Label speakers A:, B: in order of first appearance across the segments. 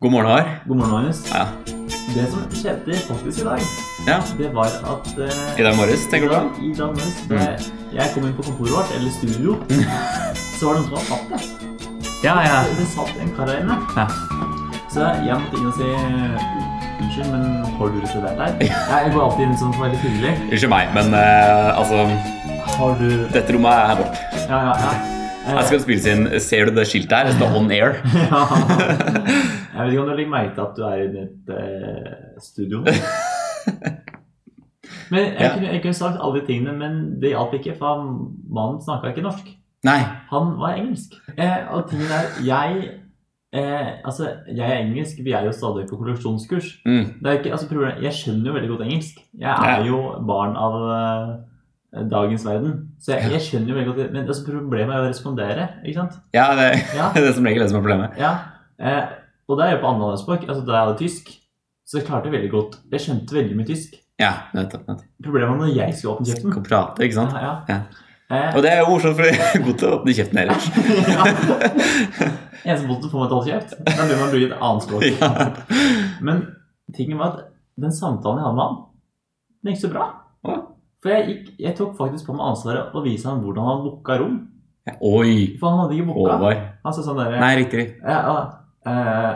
A: God morgen, Har.
B: God morgen, Magnus.
A: Ja.
B: Det som skjedde faktisk i dag,
A: ja.
B: det var at eh,
A: I dag morges, tenker du på? Mm.
B: I dag morges, da jeg, jeg kom inn på kontoret vårt, eller studio, så var det noen som var tatt det.
C: Ja, ja.
B: Det- Det satt en kar der inne.
C: Ja.
B: Så jeg måtte inn og si Unnskyld, men har du reservert deg? Jeg går alltid inn sånn for å være litt hyggelig.
A: Unnskyld meg, men eh, altså
B: Har du
A: Dette rommet er vårt.
B: Ja, ja, ja. Eh,
A: Her skal det spilles inn. Ser du det skiltet her? Det står On Air.
B: ja. Jeg vet ikke om du legger merke til at du er i ditt eh, studio. Men jeg,
A: Ja.
B: kunne, jeg kunne sagt alle de tingene, men det hjalp ikke, for han- mannen snakka ikke norsk.
A: Nei.
B: Han var engelsk. Eh, og tingen er, jeg eh, Altså, jeg er engelsk, vi er jo stadig på kolleksjonskurs.
A: Mm.
B: Det er jo ikke, altså, problemet, jeg skjønner jo veldig godt engelsk. Jeg
A: Ja.
B: er jo barn av eh, dagens verden. Så jeg,
A: Ja.
B: jeg skjønner jo veldig godt Men altså, problemet er jo å respondere, ikke sant?
A: Ja, det,
B: Ja.
A: det er som regel det som er problemet.
B: Ja. Eh, og det er jo på annet språk. Altså, da jeg hadde tysk, så klarte jeg veldig godt Jeg skjønte veldig mye tysk.
A: Ja, nettopp. nettopp.
B: Problemet var når jeg skulle åpne
A: Kjeften
B: kjeften.
A: kan prate, ikke sant?
B: Ja,
A: Ja.
B: ja. Eh,
A: Og det er jo morsomt, for jeg er god til å åpne kjeften ellers.
B: ja. Eneste måten å få meg til å holde kjeft, det er når man bruker et annet språk.
A: Ja.
B: Men tingen var at den samtalen jeg hadde med han, den gikk så bra.
A: Å.
B: For jeg, gikk, jeg tok faktisk på meg ansvaret å vise han hvordan han booka rom.
A: Oi.
B: For han hadde ikke booka.
A: Håvard.
B: Han sa sånn derre
A: Nei, riktig.
B: eh,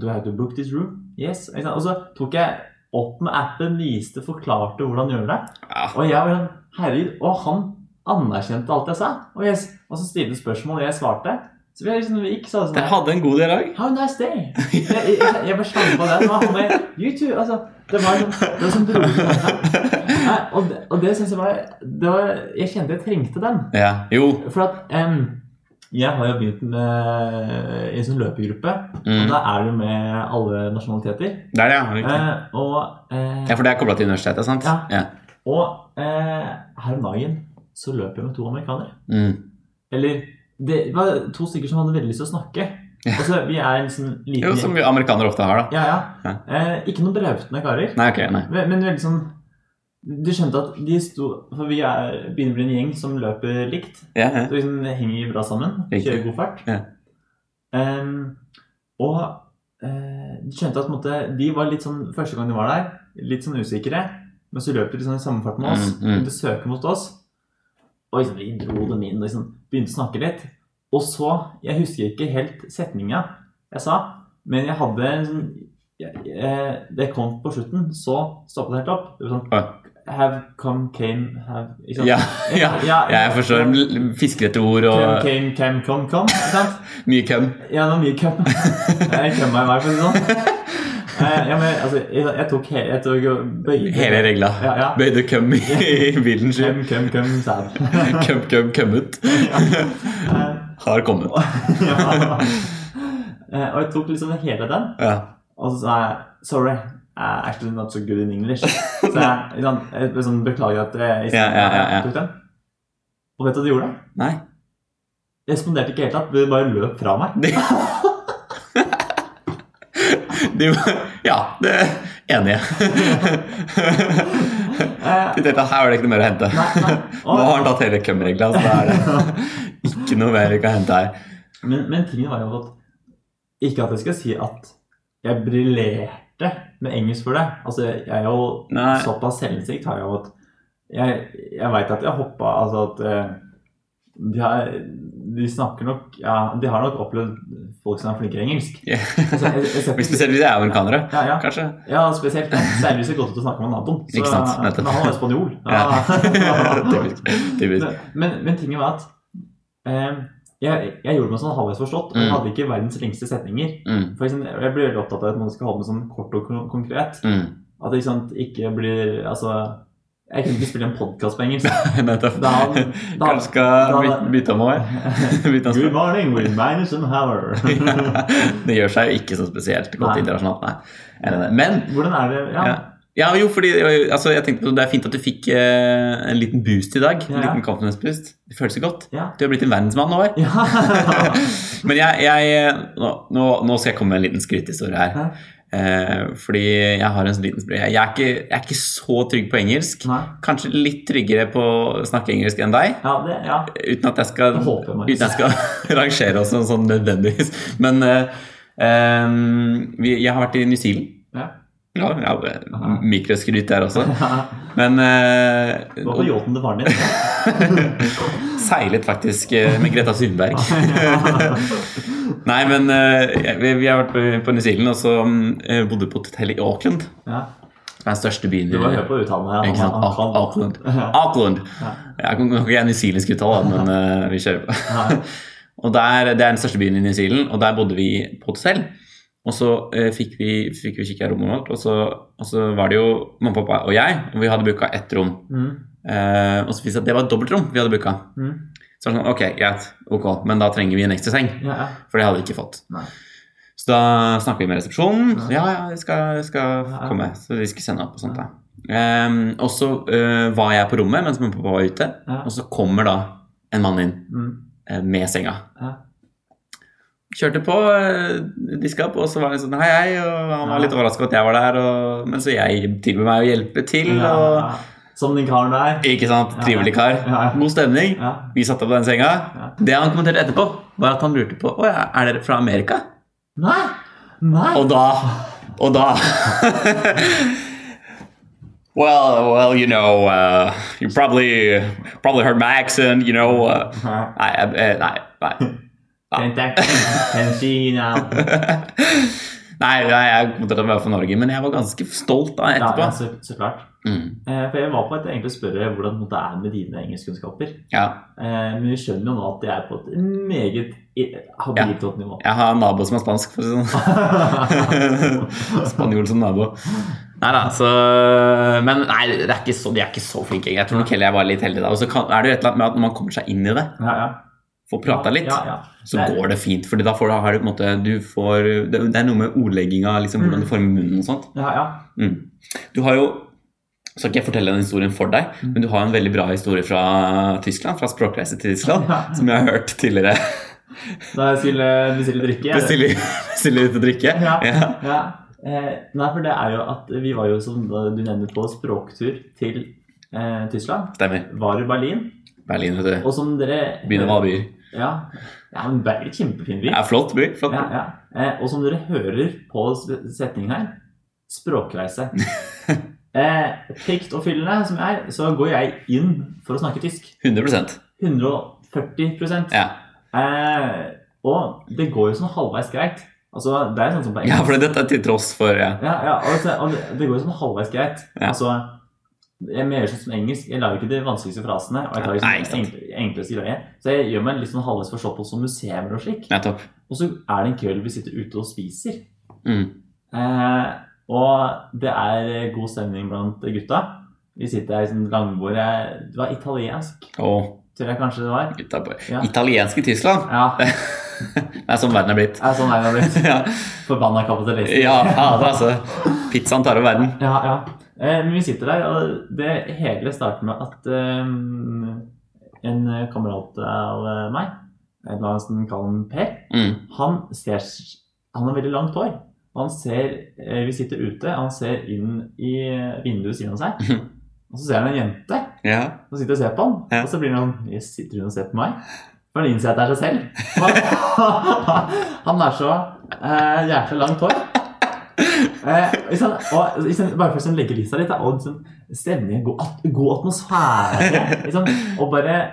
B: Do I have to book this room? Yes. Ikke sant? Og så tok jeg opp med appen, viste, forklarte hvordan gjøre det.
A: Ja.
B: Og jeg var sånn Herregud. Og han anerkjente alt jeg sa. Og, jeg, s- og så stilte han spørsmål, og jeg svarte. Så vi liksom vi gikk sånn
A: Dere hadde en god dialog.
B: How nice day! Jeg, jeg, jeg, jeg bare kjente på det. Det var han med You too! Altså, det var sånn Det var sånn broren. Nei, Og det, og det synes jeg var, det var Jeg kjente jeg trengte den.
A: Ja. Jo.
B: For at em, jeg har jo begynt med i en sånn løpegruppe. Og
A: Mm.
B: da er du med alle nasjonaliteter.
A: Det er det, ja. Riktig.
B: Eh, og eh,
A: Ja, for det er kobla til universitetet, sant?
B: Ja.
A: ja.
B: og eh, her om dagen så løp jeg med to amerikanere.
A: Mm.
B: Eller det var to stykker som hadde veldig lyst til å snakke. Altså, vi er en sånn liten
A: Jo, som vi amerikanere ofte har, da.
B: Ja, ja. Eh, ikke noen brautende karer,
A: Nei, ok, nei.
B: men, men veldig sånn Du skjønte at de sto For vi er, begynner å bli en gjeng som løper likt.
A: Ja, ja.
B: Så liksom det henger bra sammen.
A: Riktig.
B: Kjører god fart.
A: Ja.
B: Em, og eh, du skjønte at på en måte, de var litt sånn første gang de var der, litt sånn usikre. Men så løper de sånn i samme fart med oss.
A: Mm, mm.
B: De søker mot oss. Og liksom, vi dro dem inn og liksom, begynte å snakke litt. Og så Jeg husker ikke helt setninga jeg sa, men jeg hadde en sånn jeg, jeg, Det kom på slutten, så stoppet det helt opp. Det var sånn Have come, came, have ikke sant?
A: Ja, ja. Ja, jeg forstår. Fisker etter ord
B: Cam,
A: og
B: cam, cam, come, come. Ikke sant?
A: mye køm.
B: Ja, det var mye cum. Jeg kømma i meg, for å si det sånn. Eh, Ja, men altså, jeg, jeg tok hele Jeg tok jo bøy-
A: Hele regla.
B: Ja, ja.
A: Bøyde køm i i bilen sin.
B: Cum, cum, cum, sad.
A: Køm, køm, kømmet.
B: Eh,
A: Har kommet.
B: ja. Eh, Og jeg tok liksom hele den,
A: Ja.
B: og så sa jeg sorry. I'm actually not so good in English. Så jeg, ikke sant, jeg ble sånn, beklager at jeg
A: Ja, ja, ja, ja.
B: tok den. Og vet du hva de gjorde?
A: Nei.
B: Jeg responderte ikke i det hele tatt. De bare løp fra meg.
A: De, de Ja, det enig.
B: Eh,
A: De tenkte her var det ikke noe mer å hente.
B: nei, nei.
A: Nå har han tatt hele køm-regla, så da er det ikke noe mer vi kan hente her.
B: Men, men tingen var jo at Ikke at jeg skal si at jeg briljerte med engelsk for det. Altså, jeg er jo
A: Nei.
B: såpass selvinnsikt har jeg jo at Jeg, jeg veit at jeg hoppa Altså at eh, de, har, de snakker nok Ja, de har nok opplevd folk som er flinkere i engelsk.
A: Ja.
B: Altså, jeg, jeg ser ikke-
A: Spesielt hvis jeg er amerikanere,
B: ja, ja.
A: kanskje.
B: ja, spesielt. Særlig hvis jeg går ut og snakker med naboen. Så-
A: Ikke sant, nettopp.
B: Men han var spanjol.
A: Typisk. Typisk.
B: Men- men, men tingen var at eh, jeg, jeg gjorde meg sånn halvveis forstått. Og jeg
A: Mm.
B: hadde ikke verdens lengste setninger.
A: Mm.
B: For eksempel, jeg blir veldig opptatt av at man skal holde med sånn kort og kon- konkret.
A: Mm.
B: At det ikke, sant, ikke blir Altså, jeg kunne ikke spille en podkast på engelsk.
A: Nettopp.
B: Da han- da-
A: Kanskje skal
B: da-
A: bytte, bytte om òg. Bytte om
B: Good
A: språk.
B: morning with Magnus and Hauer.
A: Ja. Det gjør seg jo ikke så spesielt godt
B: Nei.
A: internasjonalt, nei. Jeg er enig i det. Men
B: Hvordan er det Ja.
A: ja. Ja, jo, fordi altså, jeg tenkte på Det er fint at du fikk eh, en liten boost i dag. En
B: Ja.
A: liten confidence-boost. Det føles jo godt.
B: Ja.
A: Du har blitt en verdensmann nå. År.
B: ja.
A: Men jeg, jeg nå, nå nå skal jeg komme med en liten skrytehistorie
B: Ja.
A: her. Eh, fordi jeg har en sånn liten spre- jeg, er ikke, jeg er ikke så trygg på engelsk.
B: Nei.
A: Kanskje litt tryggere på å snakke engelsk enn deg.
B: Ja, det, ja.
A: Uten at jeg skal,
B: Det håper jeg,
A: uten
B: Magnus.
A: at jeg skal rangere oss sånn, sånn nødvendigvis. Men eh, Ehm, vi, jeg har vært i New Zealand.
B: Ja.
A: Ja, ja,
B: Aha.
A: Mikroskryt der også.
B: Du
A: Men eh,
B: var på yachten til faren din.
A: seilet faktisk eh, med Greta Sundberg. Nei, men eh, jeg- vi, vi har vært på- på New Zealand, og så mm, eh, bodde på et hotell i Auckland.
B: Ja.
A: Som er den største byen
B: Du
A: i
B: må høre på uttalen her.
A: Ikke sant?
B: Han- han kan-
A: Auckland. Auckland.
B: Ja.
A: Jeg kan kan ikke jeg newzealandsk uttale, da, men eh, vi kjører på.
B: Ja.
A: Og der, Det er den største byen i New Zealand, og der bodde vi på et hotell. Og så eh, fikk vi, fikk vi kikke i rommet vårt, og så, og så var det jo mamma, pappa og jeg. Og vi hadde booka ett rom.
B: Mm,
A: Eh, og så viste det seg at det var et dobbeltrom vi hadde booka.
B: mm.
A: Så var det sånn, ok, greit, ok, men da trenger vi en ekstra seng.
B: Ja, ja.
A: For det hadde vi ikke fått.
B: Nei.
A: Så da snakket vi med resepsjonen. Så,
B: Ja.
A: ja, ja, jeg skal, jeg skal
B: Ja.
A: komme. Så de skulle sende opp og sånt. da. Ehm, og så eh, var jeg på rommet mens mamma og pappa var ute.
B: Ja.
A: Og så kommer da en mann inn
B: Mm.
A: eh, med senga.
B: Ja.
A: Kjørte på, eh, diska opp, og så var han sånn hei, hei. Og han
B: Ja.
A: var litt overraska over at jeg var der. Og, men så jeg tilbød meg å hjelpe til.
B: Ja,
A: Og,
B: ja. Som den karen der.
A: ikke sant?
B: Ja.
A: Trivelig kar.
B: Ja.
A: God stemning.
B: Ja.
A: Vi satt opp den senga.
B: Ja.
A: Det han kommenterte etterpå, var at han lurte på Å ja, er dere fra Amerika.
B: Nei! Nei!
A: Og da Og da Well, well, you know uh, You probably, probably heard my accent, you know uh,
B: Nei.
A: Nei, jeg- eh, nei, nei.
B: Can't act. Can't see now.
A: Nei, nei, jeg kommenterte at jeg var fra Norge, men jeg var ganske stolt da
B: Ja,
A: etterpå.
B: ja, så, så klart.
A: Mm,
B: Eh, for jeg var på et egentlig å spørre hvordan det er med dine engelskkunnskaper.
A: ja.
B: Eh, men vi skjønner jo nå at det er på et meget i- habilt godt nivå.
A: Jeg har en nabo som er spansk, for å si det sånn. Spanjol som nabo. Nei da, så Men nei, det er ikke så, de er ikke så flinke. Jeg tror nok heller jeg var litt heldig da. Og så kan, er det jo et eller annet med at når man kommer seg inn i det,
B: ja, ja.
A: får prata litt,
B: Ja, ja.
A: så går det fint. Fordi da får du, har du på en måte du får, Det det er noe med ordlegginga, liksom,
B: Mm.
A: hvordan du former munnen og sånt.
B: Ja, ja.
A: Mm. Du har jo skal ikke jeg fortelle den historien for deg,
B: Mm.
A: men du har en veldig bra historie fra Tyskland. Fra språkreise til Tyskland,
B: Ja.
A: som jeg har hørt tidligere.
B: Da jeg skulle bestille drikke jeg-
A: Bestille bestille ut og drikke.
B: Ja.
A: Ja.
B: Ja. Eh, nei, for det er jo at vi var jo, som du nevner, på språktur til eh, Tyskland.
A: Stemmer.
B: Var i Berlin.
A: Berlin, vet du.
B: Og som dere
A: Byen av alle byer.
B: Ja, ja men det er en kjempefin by.
A: Det er flott by. Flott. by.
B: Ja, ja. Eh, og som dere hører på s- setningen her, språkreise. Eh, Pikt og fyllende som jeg er, så går jeg inn for å snakke tysk.
A: 100
B: 140
A: Ja,
B: eh, Og det går jo sånn halvveis greit. Altså, det er sånn som på
A: ja for dette er til tross for ja.
B: Ja, ja og det, og det- det går jo sånn halvveis greit.
A: Ja.
B: Altså, jeg mer sånn som engelsk. Jeg lager ikke de vanskeligste frasene. Og jeg tar
A: Nei,
B: liksom
A: ikke sant.
B: enkle, enkleste greier. Så jeg gjør meg litt sånn halvveis forstått på som museer og slik.
A: Nettopp.
B: Og så er det en kveld vi sitter ute og spiser.
A: Mm.
B: Eh, og det er god stemning blant gutta. Vi sitter her i sånn langbord. Jeg- Det var italiensk,
A: Og
B: tror jeg kanskje det var.
A: gutta på
B: Ja.
A: Italiensk i Tyskland!
B: Ja, det
A: Det er sånn verden er blitt.
B: er sånn er det blitt.
A: Ja,
B: Forbanna kapitalister.
A: ja fader, altså. Pizzaen tar over verden.
B: Ja, ja. Eh, Men vi sitter der, og det hele starter med at eh, en kamerat av meg, eh, la oss kalle han Per,
A: Mm.
B: han ser Han har veldig langt hår. Og han ser eh, Vi sitter ute, og han ser inn i vinduet siden av seg.
A: Mhm.
B: Og så ser han en jente
A: Ja.
B: som sitter og ser på han.
A: Ja.
B: Og så blir han sånn Jøss, sitter hun og ser på meg? For han innser at det er seg selv. han er så eh, jækla langt hår. Eh, ikke sant? og, ikke sant, bare for å sånn legge lista litt, da, og liksom, stemning, god, at- god atmosfære ikke sant? Og bare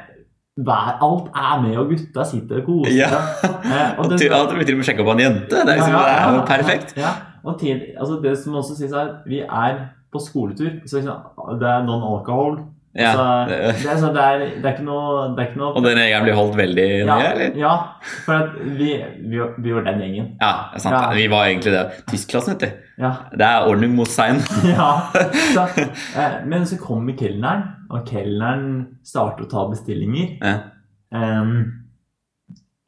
B: vær, Alt er med, og gutta sitter og koser
A: Ja.
B: Eh,
A: Og til,
B: og det-
A: ja, du blir til og med sjekka opp av en jente. Det er, liksom,
B: Ja,
A: det
B: ja,
A: er
B: ja,
A: jo perfekt.
B: Ja, og til, altså det som også sies her, vi er på skoletur, så liksom, det er non-alcohol.
A: Ja.
B: så
A: det-
B: det, er sånn, det, er, det er ikke noe, det er ikke noe
A: Og den gjengen blir holdt veldig
B: ja,
A: nøye, eller?
B: ja, for at vi, vi, vi var den gjengen.
A: Ja, det er sant.
B: Ja.
A: Vi var egentlig det. Tyskklassen, vet du.
B: Ja.
A: Det er ordning mot sein.
B: ja så, eh, men så kommer kelneren, og kelneren starter å ta bestillinger.
A: Ja.
B: Em,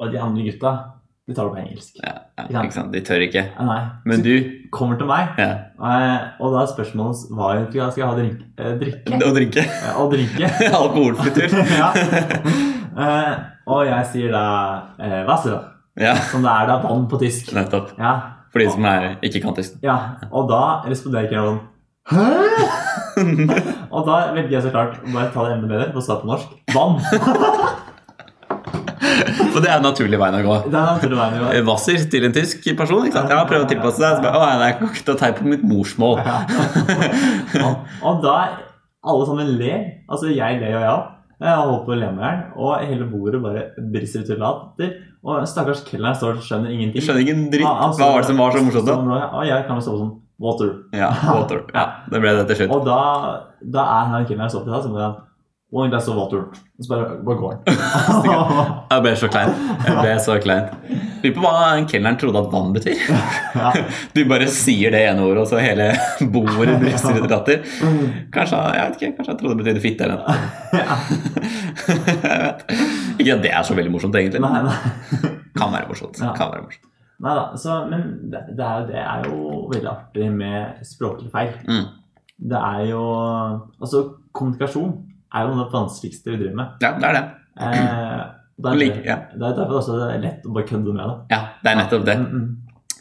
B: og de andre gutta, de tar det på engelsk.
A: Ja, ikke sant? De tør ikke.
B: Eh, Nei,
A: Men du
B: kommer til meg,
A: ja.
B: eh, og da er spørsmålet var jo skal jeg ha drink, eh, drikke.
A: Å drikke.
B: Eh, Og drikke.
A: Alkoholfri tur.
B: ja. Eh, og jeg sier da eh, Wasser,
A: Ja,
B: som det er da vann på tysk.
A: nettopp.
B: Ja,
A: For de som er ikke kan tysk.
B: ja. Og da responderer ikke jeg sånn Hæ? Og da velger jeg så klart å bare ta det enda bedre og svare på norsk. Vann!
A: For det er jo naturlig veien å gå.
B: Det er naturlig veien å gå.
A: Hvasser til en tysk person. ikke sant? Ja, prøve å tilpasse seg. Så bare, å, nei, jeg kan ikke ta teip på mitt morsmål.
B: Ja. og, og da alle sammen ler. Altså, jeg ler jo, ja. Jeg holdt på å le med hjernen, og hele bordet bare brister ut i latter. Og stakkars kelneren står og skjønner
A: Jeg
B: ingenting.
A: skjønner ikke en dritt.
B: Ah, altså,
A: Hva var det som var så morsomt, da?
B: sånn, Og jeg kan jo stå sånn Water.
A: Ja, water. Ja, det ble det til slutt.
B: Og da, da er han kelneren så opptatt, så bare han, One glass of water. Og så bare, bare går han.
A: Jeg ble så klein. Jeg ble så klein. Lurer på hva kelneren trodde at vann betyr.
B: ja.
A: Du bare sier det ene ordet, og så hele bordet brister ut i latter. Kanskje han- jeg vet ikke, kanskje han trodde det betydde fitte eller noe. Jeg vet.
B: Ja.
A: Ikke at det er så veldig morsomt, egentlig.
B: Nei,
A: men
B: nei.
A: Kan være morsomt.
B: Ja.
A: Kan være morsomt.
B: Nei da, så, men det, det, er jo, det er jo veldig artig med språklige feil.
A: Mm.
B: Det er jo Altså, kommunikasjon er jo noe av det vanskeligste vi driver med.
A: Ja, det er det.
B: Eh, det, er,
A: Like, ja.
B: det er derfor også det er lett å bare kødde med det.
A: Ja, det er nettopp det.
B: Mm, mm.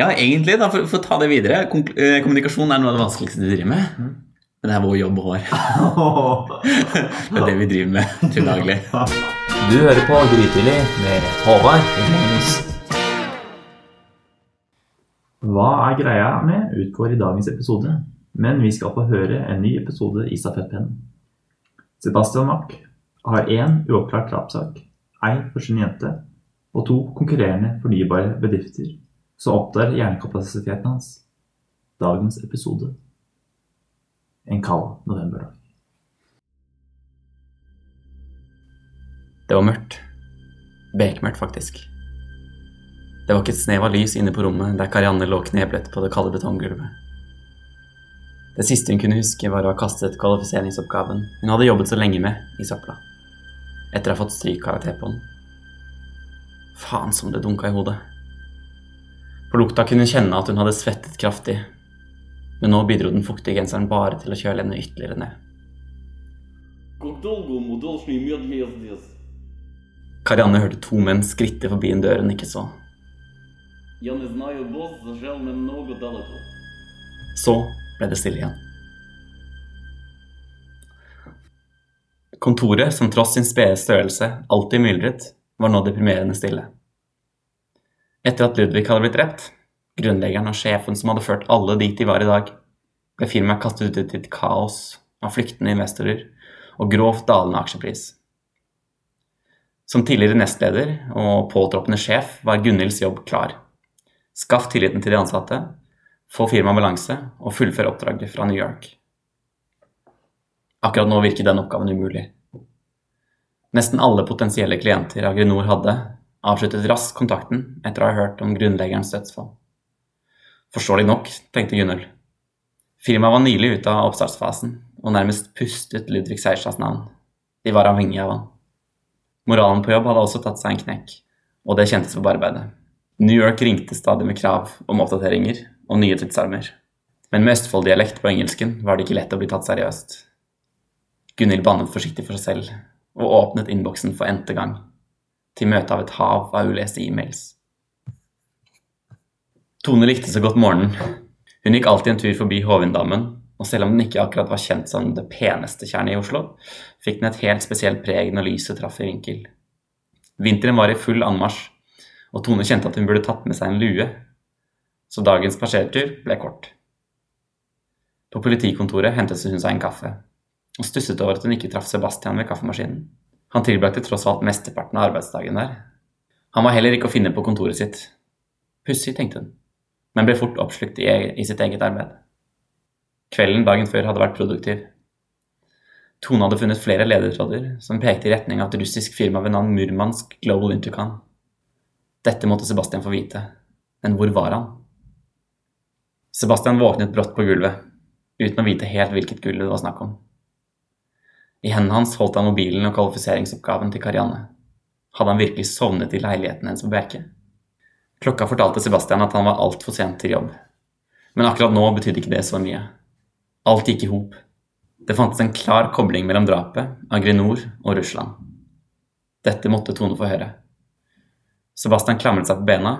A: Ja, egentlig, da, for, for å ta det videre. Konk eh, kommunikasjon er noe av det vanskeligste du driver med.
B: Mm.
A: Men det er vår jobb og vår. Det er det vi driver med til daglig.
B: Du hører på Grytidlig med Håvard og Magnus. Hva er greia med utgår i dagens episode, men vi skal få høre en ny episode i stafettpennen. Sebastian Mack har én uoppklart drapssak, ei for sin jente, og to konkurrerende fornybare bedrifter som opptar hjernekapasiteten hans. Dagens episode en kald novemberdag.
C: Det var mørkt. Bekmørkt, faktisk. Det var ikke et snev av lys inne på rommet der Karianne lå kneblet på det kalde betonggulvet. Det siste hun kunne huske, var å ha kastet kvalifiseringsoppgaven hun hadde jobbet så lenge med, i søpla. Etter å ha fått strykkarakter på den. Faen som det dunka i hodet. På lukta kunne hun kjenne at hun hadde svettet kraftig, men nå bidro den fuktige genseren bare til å kjøle henne ytterligere ned.
D: Как долго он должен иметь меня здесь?
C: Karianne hørte to menn skritte forbi en dør hun ikke så.
D: Я не знаю, босс зажал немного далеко.
C: Så ble det stille igjen. Kontoret, som tross sin spede størrelse alltid myldret, var nå deprimerende stille. Etter at Ludvig hadde blitt drept, grunnleggeren og sjefen som hadde ført alle dit de var i dag, ble firmaet kastet ut i et kaos av flyktende investorer og grovt dalende aksjepris. Som tidligere nestleder og påtroppende sjef var Gunhilds jobb klar. Skaff tilliten til de ansatte, få firmaet i balanse og fullføre oppdraget fra New York. Akkurat nå virker den oppgaven umulig. Nesten alle potensielle klienter Agrinor hadde, avsluttet raskt kontakten etter å ha hørt om grunnleggerens dødsfall. Forståelig nok, tenkte Gunnhild. Firmaet var nylig ute av oppstartsfasen og nærmest pustet Ludvig Seierstads navn. De var avhengige av han. Moralen på jobb hadde også tatt seg en knekk, og det kjentes på arbeidet. New York ringte stadig med krav om oppdateringer og nye tidsarmer. Men med Østfold-dialekt på engelsken var det ikke lett å bli tatt seriøst. Gunhild bannet forsiktig for seg selv og åpnet innboksen for n-te gang, til møte av et hav av uleste e-mails. Tone likte så godt morgenen. Hun gikk alltid en tur forbi Hovinddammen, og selv om den ikke akkurat var kjent som det peneste tjernet i Oslo, fikk den et helt spesielt preg når lyset traff i vinkel. Vinteren var i full anmarsj, og Tone kjente at hun burde tatt med seg en lue. Så dagens passasjertur ble kort. På politikontoret hentet hun seg en kaffe, og stusset over at hun ikke traff Sebastian ved kaffemaskinen. Han tilbrakte tross alt mesteparten av arbeidsdagen der. Han var heller ikke å finne på kontoret sitt. Pussig, tenkte hun, men ble fort oppslukt i, e-, i sitt eget arbeid. Kvelden dagen før hadde vært produktiv. Tone hadde funnet flere ledertråder som pekte i retning av et russisk firma ved navn Murmansk Global Intercon. Dette måtte Sebastian få vite. Men hvor var han? Sebastian våknet brått på gulvet, uten å vite helt hvilket gull det var snakk om. I hendene hans holdt han mobilen og kvalifiseringsoppgaven til Karianne. Hadde han virkelig sovnet i leiligheten hennes på Bjerke? Klokka fortalte Sebastian at han var altfor sent til jobb. Men akkurat nå betydde ikke det så mye. Alt gikk i hop. Det fantes en klar kobling mellom drapet, Agrinor og Russland. Dette måtte Tone få høre. Sebastian klamret seg på bena,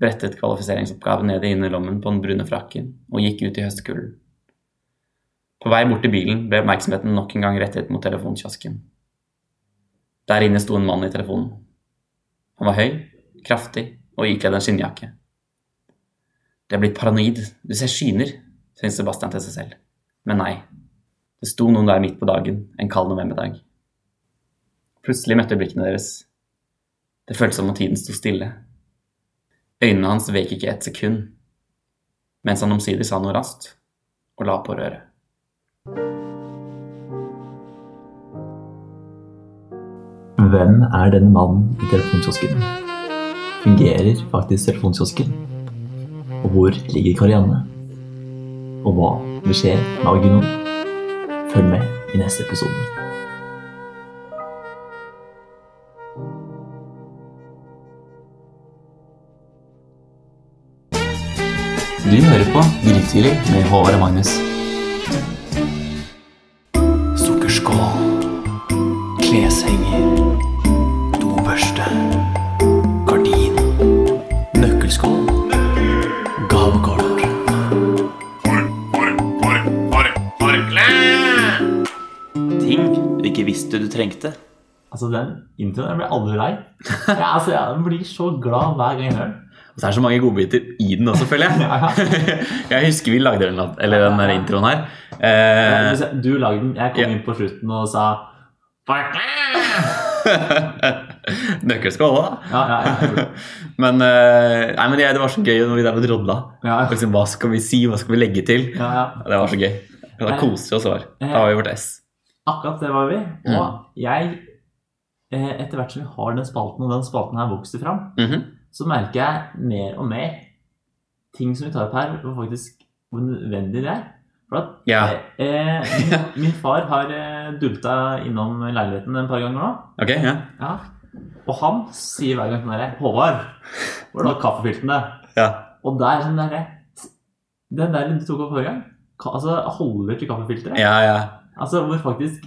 C: brettet kvalifiseringsoppgaven ned i innerlommen på den brune frakken og gikk ut i høstkulden. På vei bort til bilen ble oppmerksomheten nok en gang rettet mot telefonkiosken. Der inne sto en mann i telefonen. Han var høy, kraftig og ikledd en skinnjakke. Det er blitt paranoid, du ser skyner, syntes Sebastian til seg selv. Men nei, det sto noen der midt på dagen en kald novemberdag. Plutselig møtte blikkene deres. Det føltes som om tiden sto stille. Øynene hans vek ikke et sekund, mens han omsider sa noe raskt og la på røret.
B: Hvem er denne mannen i telefonkiosken? Fungerer faktisk telefonkiosken? Og hvor ligger Karianne? Og hva vil skje med Aginor? Følg med i neste episode.
C: Du hører på Grytidlig med Håvard og Magnus.
E: Sukkerskål. Kleshenger. Dobørste. Gardin. Nøkkelskål. Gavekort. Ting du ikke visste du trengte.
B: Altså, den introen jeg blir aldri lei. Jeg, altså, jeg blir så glad hver gang jeg hører den.
A: Og så er det så mange godbiter i den også, føler jeg. Jeg husker vi lagde den, låt- eller den der introen her. Eh,
B: Hvis jeg- Du lagde den. Jeg kom
A: ja.
B: inn på slutten og sa
A: Nøkkelskål òg, da.
B: Ja, ja, ja.
A: Men, eh, nei, men jeg, det var så gøy når vi der med drodla.
B: ja, ja.
A: Liksom, hva skal vi si, hva skal vi legge til?
B: ja, ja.
A: Det var så gøy. Da koste vi oss over. Da var vi vårt ess.
B: Akkurat det var vi.
A: Mm.
B: Og jeg, eh, etter hvert som vi har den spalten, og den spalten her vokser fram,
A: Mhm.
B: så merker jeg mer og mer ting som vi tar opp her, hvor faktisk hvor nødvendig det er. For at
A: Ja,
B: eh, min, min far har eh, dulta innom leiligheten en par ganger nå.
A: ok, ja.
B: Ja. Og han sier hver gang sånn derre Håvard, hvordan var kaffefiltene?
A: ja.
B: Og der sånn derre Den der du tok opp forrige gang, ka, altså holder til kaffefilteret.
A: Ja, ja.
B: Altså hvor faktisk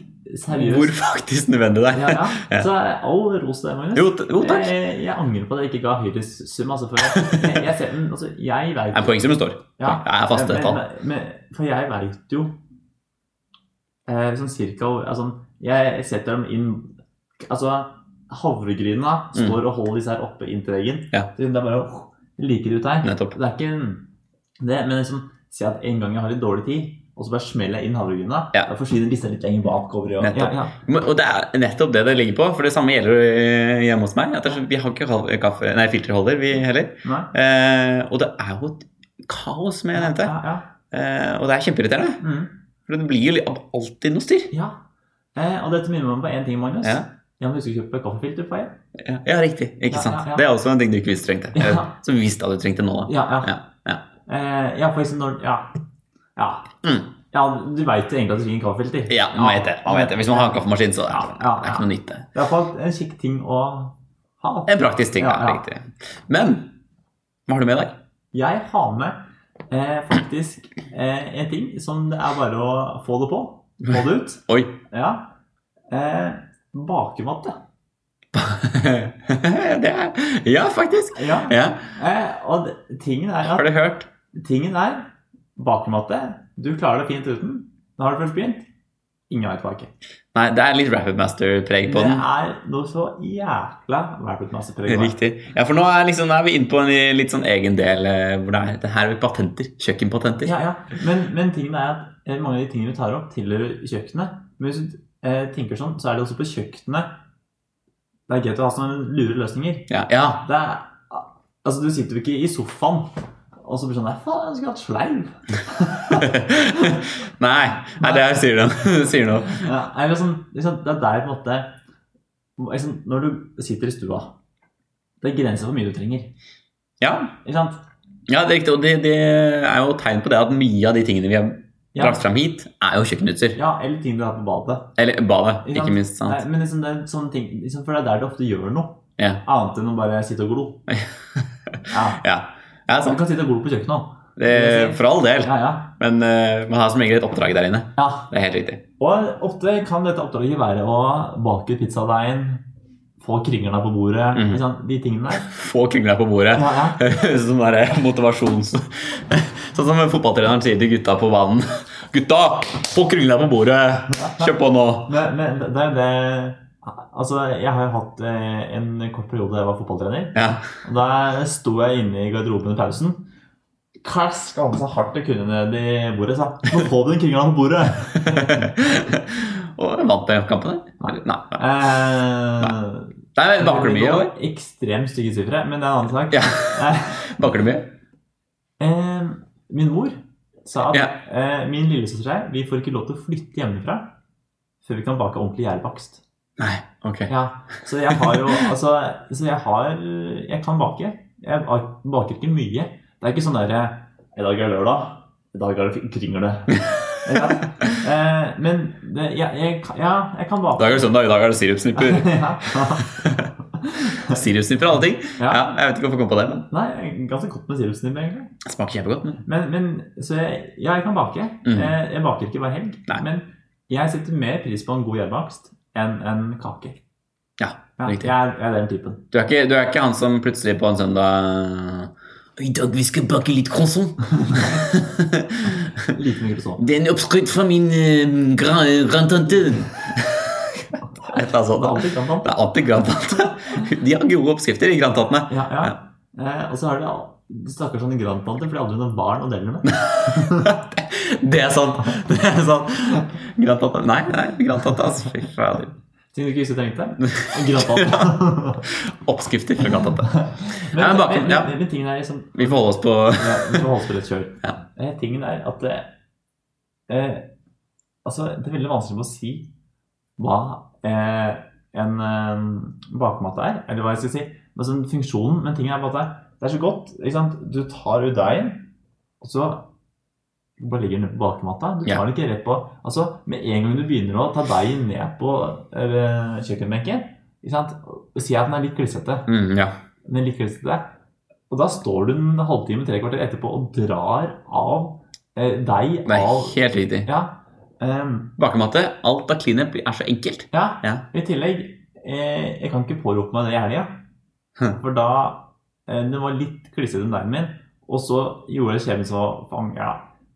B: seriøst
A: Hvor faktisk nødvendig det
B: ja,
A: er.
B: ja. Så all ros til deg, Magnus.
A: Jo, t- jo, takk.
B: Jeg, jeg angrer på at jeg ikke ga høyere sum. Altså, for jeg, jeg, ser, men, altså, jeg
A: Det er
B: vet,
A: poengsummen står.
B: ja,
A: Det er faste
B: Eh, men,
A: tall.
B: men, For jeg veit jo eh, sånn cirka hvor- altså, Jeg setter dem inn Altså, havregryna står og holder disse her oppe inntil veggen.
A: Mm. Ja.
B: Så Det er bare å like det ut her.
A: Nettopp.
B: Det er ikke en, det, Men liksom, si at en gang jeg har litt dårlig tid, og så bare smeller jeg inn havregryna,
A: Ja.
B: da forsvinner disse litt lenger bakover. Og,
A: Nettopp.
B: ja, ja.
A: Men- Og det er nettopp det det ligger på, for det samme gjelder eh, hjemme hos meg. At det er så- vi har ikke kal- kaffe, nei, filterholder, vi heller.
B: Nei.
A: Eh, og det er jo et kaos, som jeg nevnte.
B: Ja, ja.
A: Eh, og det er kjempeirriterende.
B: Mm.
A: For det blir jo li- alltid noe styr.
B: Ja. Eh, og dette minner meg om på én ting, Magnus.
A: Ja.
B: Jeg må huske å kjøpe kaffefilter på en.
A: Ja, ja riktig. Ikke
B: Ja,
A: sant.
B: ja, ja.
A: Det er også en ting du ikke visste trengte.
B: Ja.
A: Eller, Som vi visste at du trengte nå, da.
B: Ja, ja.
A: Ja, ja.
B: Eh, ja, for eksempel når Ja. Ja,
A: Mm.
B: ja du veit egentlig at du trenger kaffefilter.
A: Ja, man vet det. Man vet det. Hvis man har en kaffemaskin, så er
B: Ja,
A: det,
B: ja,
A: det er
B: ja.
A: ikke noe nytt, det.
B: Det er i hvert fall en kikk ting å ha.
A: En praktisk ting, ja.
B: Ja, ja.
A: Riktig. Men hva har du med i dag?
B: Jeg har med eh, faktisk eh, en ting som det er bare å få det på. Få det ut.
A: Oi.
B: Ja. Eh, bakematte.
A: det er Ja, faktisk.
B: Ja.
A: Ja.
B: Eh, og det- tingen er
A: Har
B: at
A: du hørt?
B: tingen er bakematte. Du klarer det fint uten. Nå har du først begynt. Ingen veit tilbake.
A: Nei, det er litt Rapid Master-preg på
B: Det
A: den.
B: er noe så jækla verdt masse preg. av.
A: Riktig. Ja, for nå er, liksom, nå er vi inne på en litt sånn egen del eh, hvor det er det her er patenter. Kjøkkenpatenter.
B: Ja, ja. Men, men tingen er at eh, mange av de tingene du tar opp, tilhører kjøkkenet. Men hvis du eh, tenker sånn, så er det også på kjøkkenet det er greit å ha sånne lure løsninger.
A: Ja, ja.
B: Det er, altså, du sitter jo ikke i sofaen og så blir det sånn Nei, faen, jeg skulle hatt sleiv.
A: Nei, nei, det her sier noe. sier noe.
B: Ja, eller sånn, liksom, det er der på en måte liksom, Når du sitter i stua Det er grenser for hvor mye du trenger.
A: Ja,
B: Ikke sant?
A: ja det er riktig. Og det, det er jo tegn på det at mye av de tingene vi har
B: Ja,
A: brakt fram hit, er jo kjøkkenutstyr.
B: ja eller ting du har på badet.
A: Eller badet,
B: Ikke sant?
A: ikke minst. sant?
B: Nei, men liksom, det er sånne ting liksom, For det er der du ofte gjør noe.
A: Ja.
B: Annet enn å bare sitte og glo. Ja.
A: Ja, ja
B: Du
A: sant.
B: kan sitte og glo på kjøkkenet òg.
A: Det, for all del.
B: Ja, ja.
A: Men eh, man har som regel et oppdrag der inne.
B: ja.
A: Det er helt riktig.
B: Og ofte kan dette oppdraget være å bake pizzadeigen, få kringlene på bordet,
A: Mhm.
B: ikke sant? de tingene der.
A: Få kringler på bordet.
B: Ja, ja.
A: Sånn der motivasjons... Sånn som fotballtreneren sier til gutta på banen. Gutta, få kringla på bordet! Kjør på nå!
B: Men, men det er jo det Altså, jeg har jo hatt eh, en kort periode da jeg var fotballtrener.
A: Ja.
B: Og Da sto jeg inne i garderoben i pausen. Klaska han så hardt jeg kunne ned i bordet. Sa nå får vi den kringla på bordet.
A: og vant den kampen, der? Nei. nei.
B: Eh,
A: Nei, men Baker du mye? eller?
B: Ekstremt stygge sifre, men det er en annen sak.
A: Ja.
B: Eh,
A: Baker du mye?
B: eh, min mor sa at
A: Ja.
B: eh, min lillesøster og jeg vi får ikke lov til å flytte hjemmefra før vi kan bake ordentlig gjærbakst.
A: Nei. Ok.
B: Ja, så jeg har jo Altså, så jeg har Jeg kan bake. Jeg ba- baker ikke mye. Det er ikke sånn derre I dag er lørdag. I dag er det kringle. ja. eh, men det, jeg, jeg, kan- ja, jeg kan
A: I
B: bake.
A: dag er det søndag, i dag er det sirupsnipper.
B: ja.
A: Sirupsnipper og alle ting. Ja, jeg vet ikke hvorfor jeg kom på det, men
B: Nei, ganske godt med sirupsnibb, egentlig.
A: det smaker kjempegodt. Men...
B: Men, men så jeg, ja, jeg kan bake.
A: Mhm.
B: Eh, Jeg baker ikke hver helg.
A: Nei.
B: Men jeg setter mer pris på en god gjærbakst enn en kake.
A: Ja, riktig.
B: Jeg er, jeg er den typen.
A: Du er, ikke, du er ikke han som plutselig på en søndag I dag vi skal bake litt croissant.
B: Liten mikrosål.
A: Det er en oppskrytt fra min eh, gra- grandtante. Et eller annet sånt.
B: Det
A: da.
B: er alltid gammelt.
A: Det er alltid grandtante. De har gode oppskrifter, de grandtantene.
B: Ja, ja. Eh, og så har de al- de snakker sånn grandtante, for de har aldri noen barn å dele med.
A: Det er sant. Det er sant. Grandtante Nei, nei, grandtante, altså. Fy fader.
B: Ting du ikke visste du trengte. Grandtante.
A: Oppskrifter fra grandtante.
B: men,
A: Ja, men
B: men,
A: bak-
B: men,
A: ja.
B: men, tingen er liksom
A: Vi får holde oss på
B: ja, Vi får holde oss på rett kjør.
A: Ja.
B: Eh, tingen er at eh, eh, Altså, det er veldig vanskelig å si hva eh, en eh, bakmat er, eller hva jeg skal si. Men sånn funksjonen, men tingen er bare at det- det er så godt. ikke sant? Du tar ut deigen, og så bare ligger den på bakmatta. Du tar
A: Ja.
B: den ikke rett på Altså, Med en gang du begynner å ta deigen ned på eh, kjøkkenbenken, ikke sant? sier jeg at den er litt klissete.
A: mm, Ja.
B: Men likevel sitter der. Og da står du en halvtime, tre kvarter etterpå og drar av eh, deg
A: Det er
B: av
A: helt riktig.
B: Ja. ehm,
A: Bakematte, alt av cleanup er så enkelt.
B: ja.
A: Ja.
B: I tillegg eh, Jeg kan ikke pårope meg det i helga.
A: Hm.
B: For da eh, Den var litt klissete, den deigen min. Og så gjorde jeg skjebnen så fang, Ja.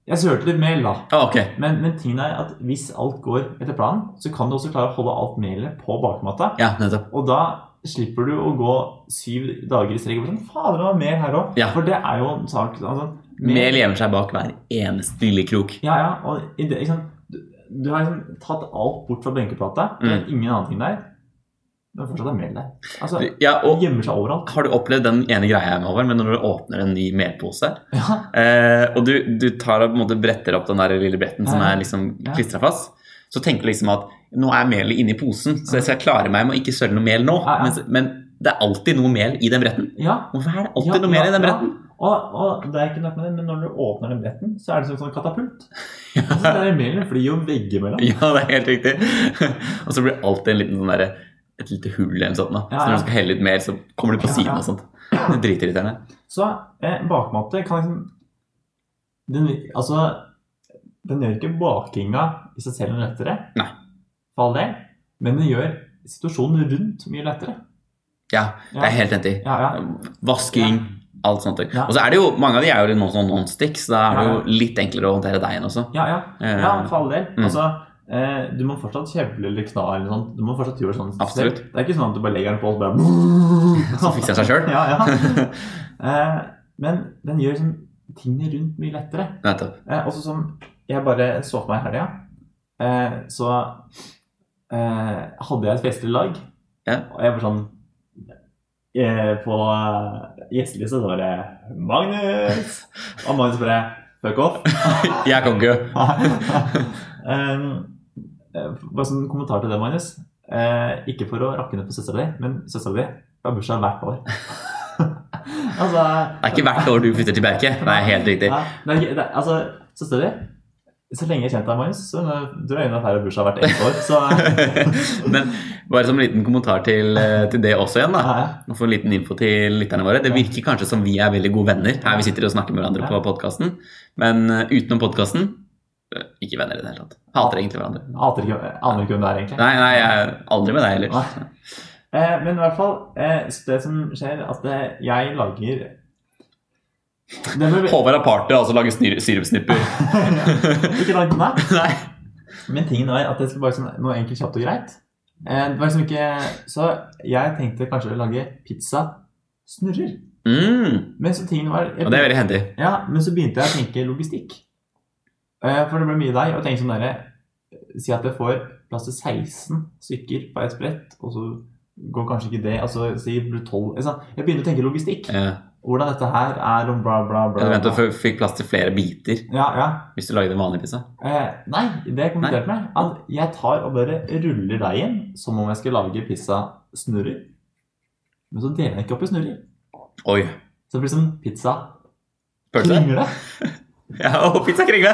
B: Jeg sølte litt mel, da.
A: Ah, ok.
B: Men, men tingen er at hvis alt går etter planen, så kan du også klare å holde alt melet på bakmatta.
A: Ja, nettopp.
B: Og da slipper du å gå syv dager i strek. og Sånn, Fader, det var mer her òg.
A: Ja.
B: For det er jo en sak altså,
A: Mel gjemmer seg bak hver eneste lille krok.
B: Ja, ja. Og i det, ikke sant? Du, du har liksom tatt alt bort fra benkeplata. Det
A: Mm.
B: er ingen annen ting der. Men fortsatt er mel der. Altså,
A: Ja,
B: det
A: og
B: gjemmer seg overalt.
A: har du opplevd den ene greia jeg med over, men når du åpner en ny melpose,
B: Ja,
A: eh, og du, du tar og på en måte bretter opp den der lille bretten som
B: Ja.
A: er liksom
B: Ja.
A: klistra fast, så tenker du liksom at nå er melet inni posen, så jeg skal klare meg med å ikke søle noe mel nå.
B: Ja, ja.
A: Men, men det er alltid noe mel i den bretten.
B: ja.
A: Hvorfor er det
B: Ja,
A: alltid noe mel i den
B: ja,
A: bretten?
B: Ja. Og, og det er ikke nok med det, men når du åpner den bretten, så er det som en sånn katapult. Altså, det er melen flyr jo veggimellom.
A: Ja, det er helt riktig. og så blir det alltid en liten sånn derre et lite hull eller noe sånt. Da.
B: Ja,
A: Så
B: ja.
A: når du skal helle litt mer, så kommer du på
B: Ja,
A: siden
B: ja.
A: og sånt. Det er dritirriterende.
B: Så eh, bakmatte kan liksom den, Altså, den gjør ikke bakinga i seg selv noe lettere,
A: Nei.
B: for all del, men den gjør situasjonen rundt mye lettere.
A: Ja,
B: Ja.
A: det er jeg helt enig i.
B: Ja, ja.
A: Vasking, alt sånt.
B: Ja.
A: Og så er det jo, mange av de er jo litt noen sånn non-stick, så da er det
B: Ja, ja.
A: jo litt enklere å håndtere deigen også.
B: Ja, ja.
A: Eh,
B: ja for all del.
A: Mm.
B: Altså, eh, du må fortsatt kjevle eller kna eller noe sånt. Du må fortsatt gjøre sånn.
A: Absolutt.
B: selv. Det er ikke sånn at du bare legger den på og så bare
A: Så fikser sånn. den seg sjøl.
B: Ja, ja. Eh, men den gjør liksom tingene rundt mye lettere.
A: Nettopp.
B: Eh, også som jeg bare så for meg i helga, eh, så eh, hadde jeg et festlig lag.
A: Ja.
B: Og jeg var sånn eh, På eh, gjestelista så var det 'Magnus'! Og Magnus bare 'fuck off'.
A: Jeg kan ikke
B: um, eh, bare sånn kommentar til det, Magnus. Eh, ikke for å rakke ned på søstera di, men søstera di har bursdag hvert år. altså
A: Det er ikke hvert år du flytter til Bjerke. Det er helt riktig.
B: ja, det er, ikke- det, er- altså, søstera di Så lenge jeg har kjent deg, Magnus, så drar jeg inn at her har bursdag hvert eneste år. Så eh,
A: Men bare som en liten kommentar til, eh, til det også igjen, da.
B: ja, ja.
A: Og for en liten info til lytterne våre. Det virker kanskje som vi er veldig gode venner her vi sitter og snakker med hverandre på podkasten, men eh, utenom podkasten ikke venner i det hele tatt. Hater egentlig hverandre.
B: Hater ikke, aner ikke hvem det er, egentlig.
A: Nei, nei, jeg er aldri med deg heller.
B: Nei. Eh, men i hvert fall, eh, så det som skjer, at eh, jeg lager det med,
A: Håvard er party, altså lager snir- sirupsnipper.
B: Ikke langt unna.
A: Nei.
B: Men tingen er at jeg skal bare sånn noe enkelt, kjapt og greit. Eh, Det var liksom ikke Så jeg tenkte kanskje å lage pizza snurrer.
A: Mm.
B: Men så tingen var
A: Og det er veldig hendig.
B: Ja, men så begynte jeg å tenke logistikk. Eh, For det ble mye deig. Og tenk sånn derre Si at jeg får plass til 16 stykker på et brett, og så går kanskje ikke det Altså si det blir 12 ikke sant? Jeg begynte å tenke logistikk.
A: Ja.
B: Hvordan dette her er og bla, bla,
A: Jeg
B: bla.
A: hadde ventet
B: bla.
A: og f- fikk plass til flere biter
B: Ja, ja.
A: hvis du lagde en vanlig pizza.
B: Eh, nei, det jeg kommenterte meg, at jeg tar og bare ruller deigen som om jeg skal lage pizzasnurrer. Men så deler jeg ikke opp i snurrer.
A: Oi.
B: Så det blir som pizza
A: Pølse?
B: kringle.
A: Ja, og pizzakringle!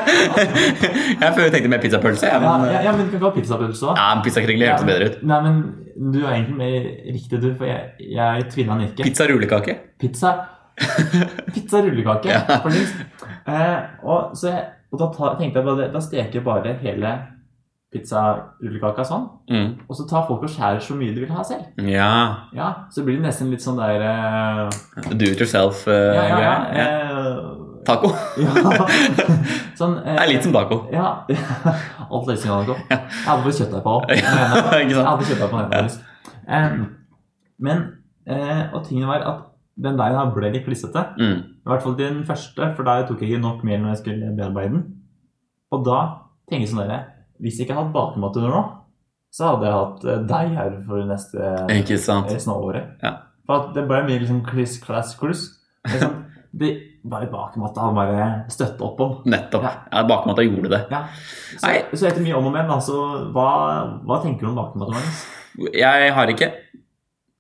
A: jeg før tenkte mer pizzapølse. Ja,
B: Ja,
A: men, eh,
B: ja, ja, men du kan få pizzapølse òg.
A: ja, pizzakringle hørtes bedre ut.
B: Nei, men du er egentlig mer riktig, du, for jeg, jeg tvinna den ikke.
A: Pizza rullekake.
B: Pizza Pizza rullekake,
A: Ja.
B: faktisk. Eh, og, så jeg, og da ta, tenkte jeg bare Da steker jeg bare hele pizzarullekaka sånn,
A: Mm.
B: og så tar folk og skjærer så mye de vil ha selv.
A: Ja.
B: Ja, så blir det nesten litt sånn der eh,
A: Do it yourself-greier.
B: Ja, ja, ja.
A: ja.
B: eh,
A: Taco.
B: ja. Sånn eh,
A: Det er litt som taco.
B: Ja. Alt er sånn, Jakob. Jeg hadde fått kjøttdeig på den
A: Ikke
B: ene. Jeg
A: sant?
B: hadde kjøttdeig på den ene, faktisk. Eh, men eh, Og tingen var at den der her ble litt klissete.
A: Mm.
B: I hvert fall til den første, for der tok jeg ikke nok mel når jeg skulle bearbeide den. Og da tenker jeg sånn dere Hvis jeg ikke hadde hatt bakemat under nå, så hadde jeg hatt eh, deig her for neste
A: Ikke sant.
B: resten av året.
A: Ja.
B: For at det ble mye liksom kliss, klass, kluss. Det, er sånn, det bare bakmatta han bare støtte opp om.
A: Nettopp. Ja, Bakmatta gjorde det.
B: Ja. Så,
A: Nei.
B: så etter mye om og men, altså, hva, hva tenker du om bakmatta hans?
A: Jeg har ikke.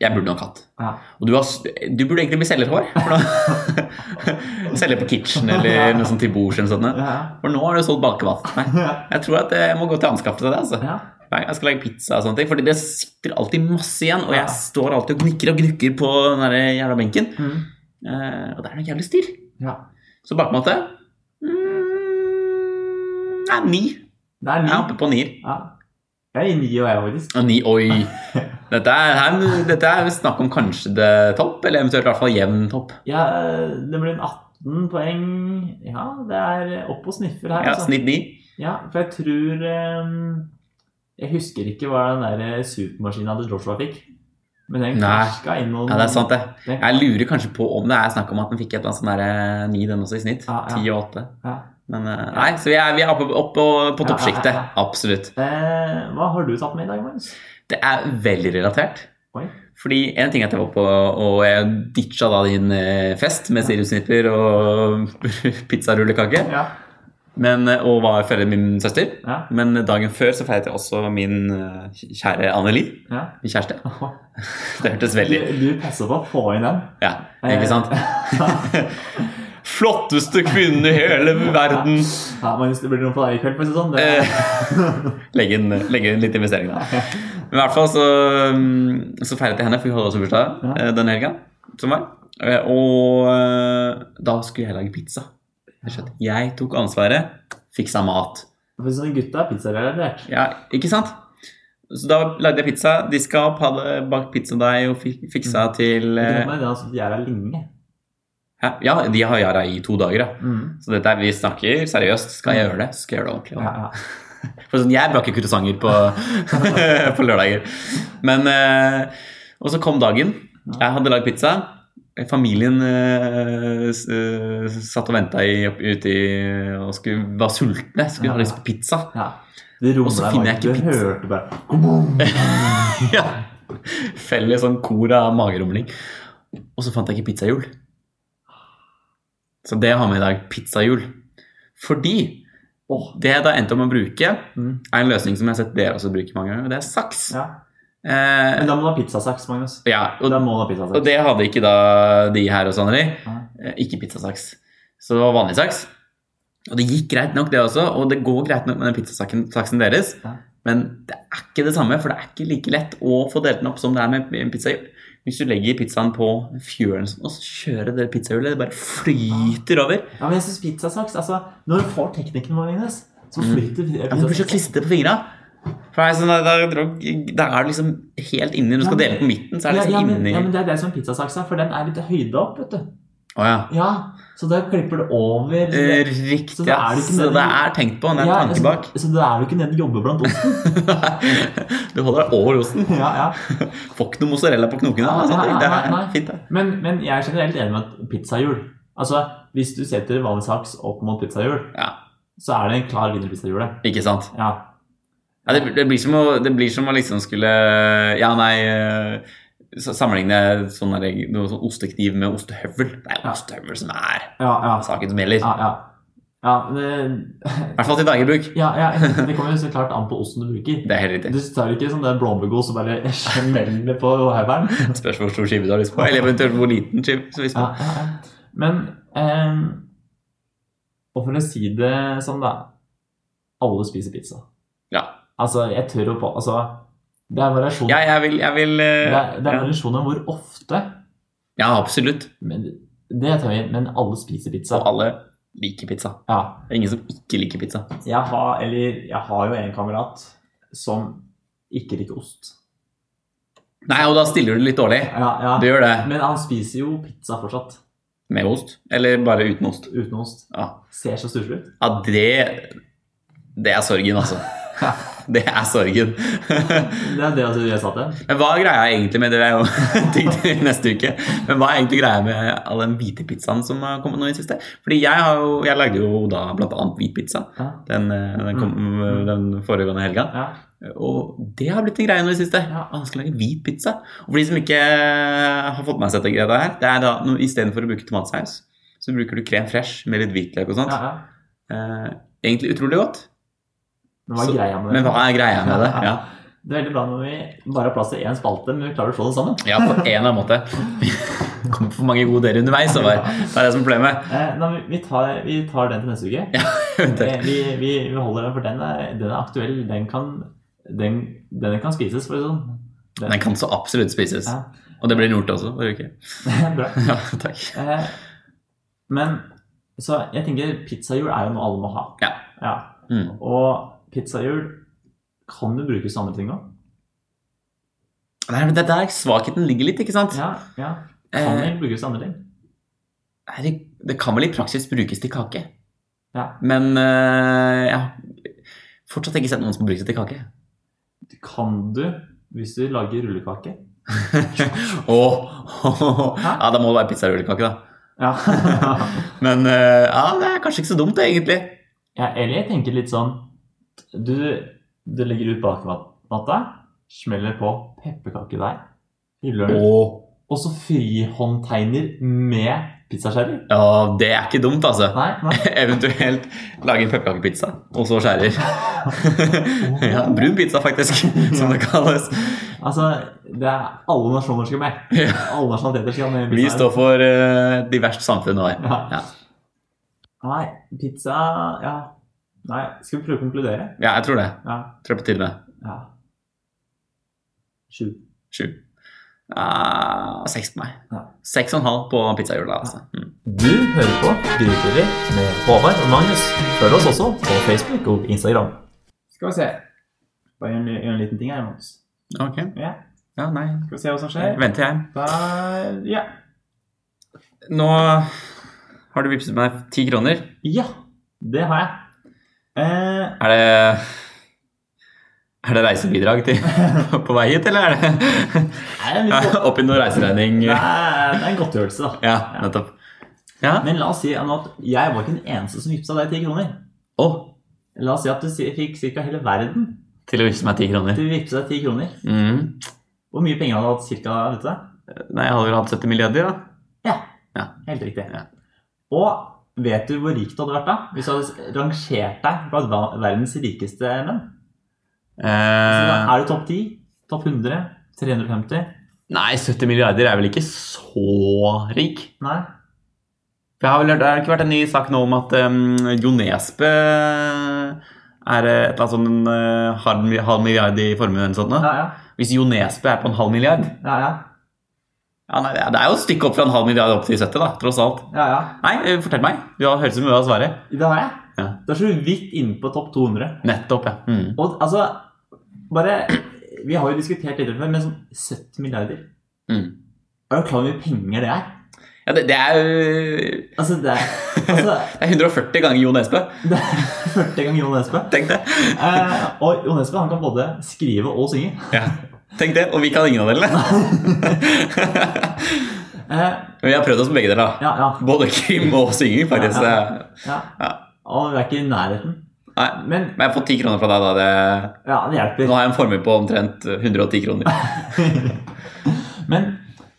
A: Jeg burde nok hatt.
B: Ja.
A: Og du, har, s- du burde egentlig bli selgerhår. for da- Selger på Kitchen eller noe sånt til bords eller noe sånt.
B: Ja.
A: For nå har du solgt bakemat. Nei, jeg tror at jeg må gå til anskaffelse av det. altså.
B: Ja.
A: Hver gang jeg skal lage pizza og sånne ting. Fordi det sitter alltid masse igjen, og jeg står alltid og gnikker og gnukker på den der jævla benken.
B: Mm.
A: Eh, og det er noe jævlig styr.
B: ja.
A: Så bakmatte mm, Nei, ni.
B: Det er
A: Jeg
B: ni.
A: er oppe på nier.
B: Ja. Jeg er i ni og jeg, faktisk.
A: Og Ni, oi. Dette er, her, dette er snakk om kanskje det topp, eller eventuelt i hvert fall jevn topp.
B: Ja, det blir en 18 poeng. Ja, det er opp og sniffer her.
A: Ja,
B: altså.
A: Snitt ni.
B: Ja, for jeg tror ehm, Jeg husker ikke hva den der supermaskina til Joshua fikk. Men den
A: Nei.
B: knirka inn noen
A: Ja, det er sant, det.
B: Den-
A: Jeg lurer kanskje på om det er snakk om at den fikk et eller annet sånn derre ni, den også, i snitt.
B: Ja, ja.
A: Ti og åtte.
B: Ja.
A: Men eh, nei, så vi er, vi er oppe, oppe på
B: Ja, ja, ja,
A: toppsjiktet.
B: ja.
A: Absolutt.
B: Eh, hva har du tatt med i dag, Magnus?
A: Det er veldig relatert.
B: Oi.
A: Fordi en ting er at jeg var på og jeg ditcha da din eh, fest med sirupsnipper og pizzarullekake,
B: Ja.
A: men, eh, og var følge min søster.
B: Ja.
A: Men dagen før så feiret jeg også min eh, kjære Anneli,
B: ja.
A: min kjæreste. Det hørtes
B: Du,
A: veldig
B: du passer på å få inn den.
A: Ja, ikke sant?
B: ja,
A: Flotteste kvinnen i hele verden!
B: Magnus, det blir noe på deg i kveld, for å si det sånn. Det,
A: Eh, legge, inn, legge inn litt investering, da. Men i hvert fall så, mm, så feiret jeg henne, for hun hadde også bursdag
B: Ja.
A: eh, den helga. Som var. Eh, Og eh, da skulle jeg lage pizza. Rett og slett. Jeg tok ansvaret, fiksa mat.
B: for å si det sånn, gutta er pizzarelatert.
A: Ja, ikke sant? Så da lagde jeg pizza. Diska opp, hadde bakt pizzadeig og fik- fiksa
B: Mm.
A: til
B: Det
A: eh,
B: er altså, de er her lenge.
A: hæ? Ja, de har Yara i to dager, da.
B: Mm.
A: Så dette er, vi snakker seriøst. Skal jeg gjøre det, skal jeg gjøre det ordentlig.
B: Ja, ja.
A: For sånn, jeg baker croissanter på, på lørdager. Men eh, Og så kom dagen. Jeg hadde lagd pizza. Familien eh, s- eh, satt og venta ute i, og skulle, var sultne. Skulle ha lyst på pizza.
B: ja. Det rommet
A: Og så
B: der,
A: finner jeg
B: Magnus,
A: ikke pizza.
B: Du hørte bare «Kom on!»
A: ja. Feller sånn kor av magerumling. Og så fant jeg ikke pizzahjul. Så det jeg har med i dag, pizzahjul. Fordi det jeg da endte om å bruke,
B: Mm.
A: er en løsning som jeg har sett dere også bruke mange ganger, og det er saks.
B: Ja.
A: Eh,
B: Men da må du ha pizzasaks, Magnus.
A: ja, og,
B: Da må du ha
A: og
B: pizzasaks.
A: det hadde ikke da de her hos Anneli.
B: Nei.
A: Eh, Ikke pizzasaks. Så det var vanlig saks. Og det gikk greit nok, det også, og det går greit nok med den pizzasaken- saksen deres.
B: Ja.
A: Men det er ikke det samme, for det er ikke like lett å få delt den opp som det er med en pizzahjul. Hvis du legger pizzaen på fjølen sånn, og så kjører det pizzahjulet, det bare flyter over.
B: Ja, men jeg synes pizzasaks altså, Når du får teknikken vår, Ines, så flyter mm.
A: Ja, men det blir så klissete på fingra. For det er sånn, der, der, der, der er det liksom helt inni. Når du skal
B: Ja,
A: dele
B: men-
A: den på midten, så er det
B: ja, ja,
A: liksom
B: men, ja, men
A: inni.
B: det er det som er pizzasaks er, for den er litt høyde opp, vet du.
A: Å ja.
B: Ja, Så da klipper det over.
A: Eh, Riktig,
B: Så det er det
A: ass.
B: ikke
A: Så
B: nødvendig-
A: det er tenkt på, det er en
B: Ja, altså,
A: tanke bak.
B: Så, så da er du ikke nede og jobber blant oss.
A: du holder deg over osten.
B: ja, ja.
A: Får ikke noe mozzarella på knokene.
B: Nei,
A: og sånne ting. Det
B: nei,
A: er
B: nei.
A: fint, det.
B: Men, men jeg er generelt enig med at pizzahjul Altså, Hvis du setter vanlig saks opp mot pizzahjul,
A: Ja.
B: så er det en klar vinner i pizzahjulet.
A: Ikke sant?
B: Ja.
A: Ja, det, det, blir som å, det blir som å liksom skulle Ja, nei eh, sa- Sammenligne sånn der, noe sånn ostekniv med ostehøvel. Det er ostehøvel som er
B: Ja, ja.
A: saken som gjelder.
B: ja, ja. ja det,
A: I hvert fall til daglig bruk.
B: ja, ja, det kommer jo så klart an på osten du bruker.
A: Det er helt riktig.
B: Du tar ikke sånn der blåmuggost og bare smeller på hauberen.
A: Spørs hvor stor skive du har lyst på, eller eventuelt hvor liten skive. du har lyst på.
B: Ja, ja, ja. Men eh, Og for å si det sånn, da Alle spiser pizza.
A: Ja.
B: Altså, jeg tør å på Altså, det er variasjon
A: Ja, jeg vil, jeg vil
B: det,
A: eh,
B: er, det er
A: ja.
B: variasjon om hvor ofte
A: ja, absolutt.
B: men, Det tar vi inn, men alle spiser pizza.
A: Og alle liker pizza.
B: Ja.
A: Det er ingen som ikke liker pizza.
B: Jeg har, eller, jeg har jo en kamerat som ikke liker ost.
A: Nei, og da stiller du litt dårlig.
B: Ja, ja.
A: Du gjør det.
B: Men han spiser jo pizza fortsatt.
A: Med ost? Eller bare uten ost?
B: Uten ost.
A: Ja,
B: Ser så stusslig ut.
A: ja det Det er sorgen, altså. Det er sorgen.
B: Det er det altså jeg sa til ham.
A: Men hva er greia egentlig med det er jo ting til neste uke? Men hva er egentlig greia med all den hvite pizzaen som har kommet nå i det siste? Fordi jeg, har jo, jeg lagde jo da blant annet hvit pizza
B: Ja.
A: den, eh, den, kom,
B: Mm.
A: den foregående helga.
B: Ja.
A: Og det har blitt en greie nå i det siste.
B: Ja.
A: Man skal lage hvit pizza. Og for de som ikke eh, har fått med seg dette greia her, det er da no, istedenfor å bruke tomatsaus, så bruker du krem fresh med litt hvitløk og sånt.
B: Ja, ja.
A: Eh, egentlig utrolig godt.
B: Men hva er
A: Så-
B: greia med det?
A: Men hva er greia med det? Ja,
B: Det er veldig bra når vi bare har plass til én spalte, men vi klarer å slå det sammen.
A: ja på en eller annen måte. Det kommer for mange gode deler underveis. og bare- Det er det som er problemet.
B: Eh, nei, men vi, tar, vi tar den til neste uke. Eh, vi, vi, vi holder den, for den er, den er aktuell. Den kan, den, den kan spises, for å si det sånn.
A: Den kan så absolutt spises.
B: Ja.
A: Og det ble den gjort også forrige uke.
B: sånn. bra.
A: Ja, takk.
B: Eh, men så jeg tenker pizzahjul er jo noe alle må ha.
A: Ja. Mm.
B: Og pizzahjul kan jo brukes til andre ting òg.
A: Nei, men Det er der svakheten ligger litt, ikke sant?
B: Ja, ja. Kan
A: Eh,
B: jo brukes til andre ting.
A: Nei, det, det kan vel i praksis brukes til kake.
B: Ja.
A: Men eh, jeg har fortsatt ikke sett noen som bruker det til kake.
B: Kan du, hvis du lager rullekake
A: Åh, Ja, da må det være pizzarullekake, da.
B: Ja.
A: Men eh, ja, det er kanskje ikke så dumt, det, egentlig.
B: Ja, eller jeg tenker litt sånn Du, du legger ut bakmatta, smeller på pepperkakedeig, hyller den,
A: Åh.
B: og så frihåndtegner med pizzaskjærer.
A: Ja, det er ikke dumt, altså.
B: Nei, nei.
A: Eventuelt lage en pepperkakepizza, og så skjærer. ja, brun pizza, faktisk, som det kalles.
B: Altså, det er alle nasjoner skal med.
A: Ja.
B: Alle nasjonaliteter skal med. i
A: Vi
B: pizzaen.
A: står for eh, et diverst samfunn nå. her.
B: Ja.
A: Ja.
B: Nei, pizza Ja. Nei, skal vi prøve å konkludere?
A: Ja, jeg tror det.
B: Ja.
A: Tror jeg på tide med.
B: ja. Sju.
A: Sju. Ah, seks på meg.
B: Ja.
A: Seks og en halv på pizzahjula, altså. Mm.
B: Du hører på Grytidlig med Håvard og Magnus. Følg oss også på Facebook og Instagram. Skal vi se. Bare gjør en, gjør en liten ting her, Magnus.
A: Ok.
B: Ja.
A: Ja, nei.
B: Skal vi se hva som skjer.
A: Venter jeg.
B: Der, ja.
A: Nå har du vippset meg ti kroner.
B: ja, det har jeg. Eh,
A: Er det Er det reisebidrag til, på, på vei hit, eller er det
B: er det, litt godt?
A: Opp i noe reiseregning?
B: det, er, det er en godtgjørelse, da.
A: Ja, nettopp.
B: Men la oss si nå at jeg var ikke den eneste som vippsa deg ti kroner.
A: Å,
B: La oss si at du si- fikk ca. hele verden
A: til å vippse meg ti kroner.
B: til å vippse deg ti kroner.
A: Mm.
B: Hvor mye penger hadde du hatt cirka, vet du det?
A: Nei, jeg hadde vel hatt 70 milliarder, da.
B: Helt riktig.
A: Ja.
B: Og vet du hvor rik du hadde vært da? Hvis du hadde rangert deg blant va- verdens rikeste menn? Så da
A: Eh,
B: er du topp 10, topp 100, 350?
A: nei, 70 milliarder er vel ikke så rik?
B: Nei?
A: For jeg har vel hørt, Det har ikke vært en ny sak nå om at um, Jo Nesbø er eh, et eller annet sånn eh, halv, mi- halv milliard i formue eller noe sånt? nå.
B: Ja, ja.
A: Hvis Jo Nesbø er på en halv milliard
B: ja, ja.
A: ja, nei, Det er- det er jo et stykke opp fra en halv milliard opp til 70, da, tross alt.
B: ja, ja.
A: Nei, eh, fortell meg. Du har hørt så mye av svaret.
B: Det har jeg.
A: Ja.
B: Du er så vidt inne på topp 200.
A: Nettopp, ja. Mm.
B: Og altså, bare Vi har jo diskutert litt før, men sånn 70 milliarder
A: Mm.
B: Er du klar over hvor mye penger det er?
A: Ja, det, det er jo
B: Altså, det er, altså,
A: Det er 140 ganger Jon Espe.
B: det er 40 ganger Jon Espe.
A: Tenk det.
B: Eh, og Jon Espe han kan både skrive og synge.
A: Ja. Tenk det, Og vi kan ingen av delene.
B: Eh,
A: Men vi har prøvd oss på begge deler. da.
B: ja, ja,
A: Både krim og synging, faktisk.
B: Ja,
A: Nei,
B: ja.
A: Ja.
B: Og vi er ikke i nærheten. Men
A: Men jeg har fått 10 kroner fra deg, da. Det...
B: ja, det hjelper.
A: Nå har jeg en formue på omtrent 110 kroner.
B: Men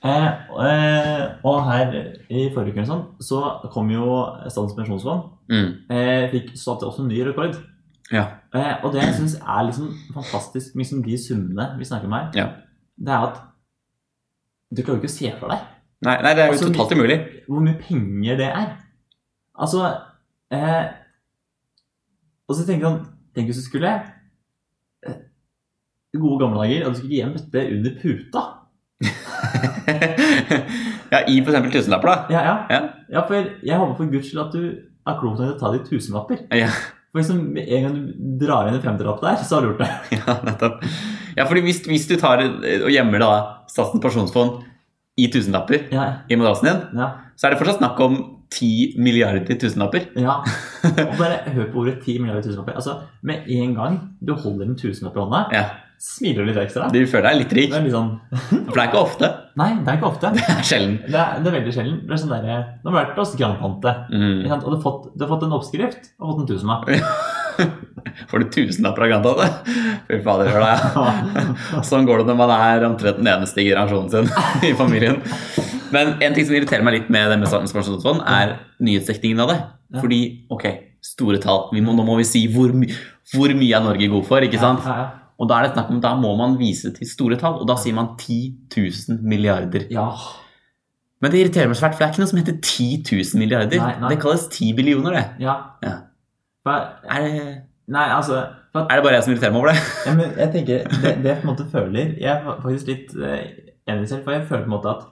B: eh, eh, Og her i forrige uke sånn, så kom jo Statens pensjonsfond.
A: Mm.
B: Eh, fikk satte også en ny rekord.
A: Ja.
B: Eh, og det jeg syns er liksom fantastisk med liksom de summene vi snakker om her,
A: Ja.
B: det er at du klarer ikke å se for deg
A: Nei, nei, det er jo
B: Altså,
A: totalt umulig.
B: hvor mye penger det er. Altså eh, Og så tenker jeg sånn Tenk hvis du skulle eh, i gode gamle dager og du skulle gi en bøtte under puta.
A: ja, I f.eks. tusenlapper, da.
B: Ja, ja.
A: Ja.
B: ja, for jeg håper for guds skyld at du er klok nok til å ta de tusenlapper.
A: Ja.
B: For liksom, med en gang du drar inn en femtilapp der, så har du gjort det.
A: Ja, nettopp. Ja, fordi hvis, hvis du tar og gjemmer da Statens pensjonsfond i tusenlapper
B: Ja,
A: i madrassen din,
B: ja,
A: så er det fortsatt snakk om 10 milliarder tusenlapper.
B: ja. Og bare hør på ordet 10 milliarder tusenlapper. Altså, med en gang du holder en tusenlapp i hånda,
A: Ja,
B: smiler du litt ekstra.
A: Du føler deg litt rik,
B: Det er litt sånn
A: for det er ikke ofte.
B: Nei, det er ikke ofte.
A: Det er sjelden.
B: Det er, det er veldig sjelden. Det er sånn derre Nå har vi vært hos grandtante, ikke
A: Mm.
B: sant? og du har, fått, du har fått en oppskrift og fått en tusenlapp.
A: Får du tusenlapper av Grandtante? Fy fader, hør da. ja. Sånn går det når man er omtrent den eneste i generasjonen sin i familien. Men en ting som irriterer meg litt med det med Statens pensjonsfond, er nyhetsdekningen av det.
B: Ja.
A: Fordi, ok, store tall. Vi må, nå må vi si hvor, my hvor mye er Norge god for, ikke sant?
B: Ja,
A: Og da er det snakk om, da må man vise til store tall, og da sier man 10 000 milliarder.
B: ja, ja.
A: Men det irriterer meg svært, for det er ikke noe som heter 10 000 milliarder.
B: Nei, nei.
A: Det kalles 10 billioner, det.
B: ja.
A: Ja.
B: For,
A: Er det,
B: nei, altså for at
A: er det bare jeg som irriterer meg over det?
B: Ja, men jeg tenker, det, det jeg på en måte føler Jeg er fa- faktisk litt eh, enig selv, for jeg føler på en måte at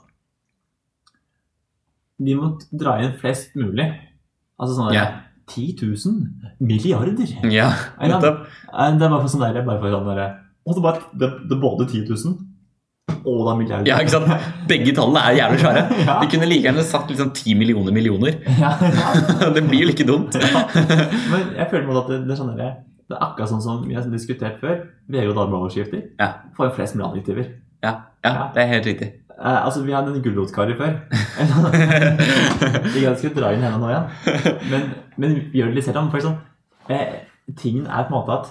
B: vi må dra inn flest mulig. Altså sånn
A: Ja.
B: der, 10 000 milliarder! Eh,
A: Ja,
B: Ja.
A: nettopp.
B: Det er bare for sånn der, bare for sånn der Og så bare, det, det er både 10 000 og det er milliarder.
A: Ja, ikke sant? Begge tallene er jævlig klare.
B: Ja.
A: Vi kunne like gjerne satt liksom 10 millioner millioner.
B: Ja, ja.
A: Det blir jo like dumt.
B: Men jeg føler på en måte at det, det er sånn der, det er akkurat sånn som vi har diskutert før. VG og Dagbladet-overskrifter
A: Ja.
B: får jo flest mulig adjektiver.
A: Ja, ja det er helt riktig.
B: Eh, altså, vi hadde en gulrotkari før. Ikke at jeg skulle dra inn henne nå igjen. Men, men gjør det litt selv om. For sånn, eh, tingen er på en måte at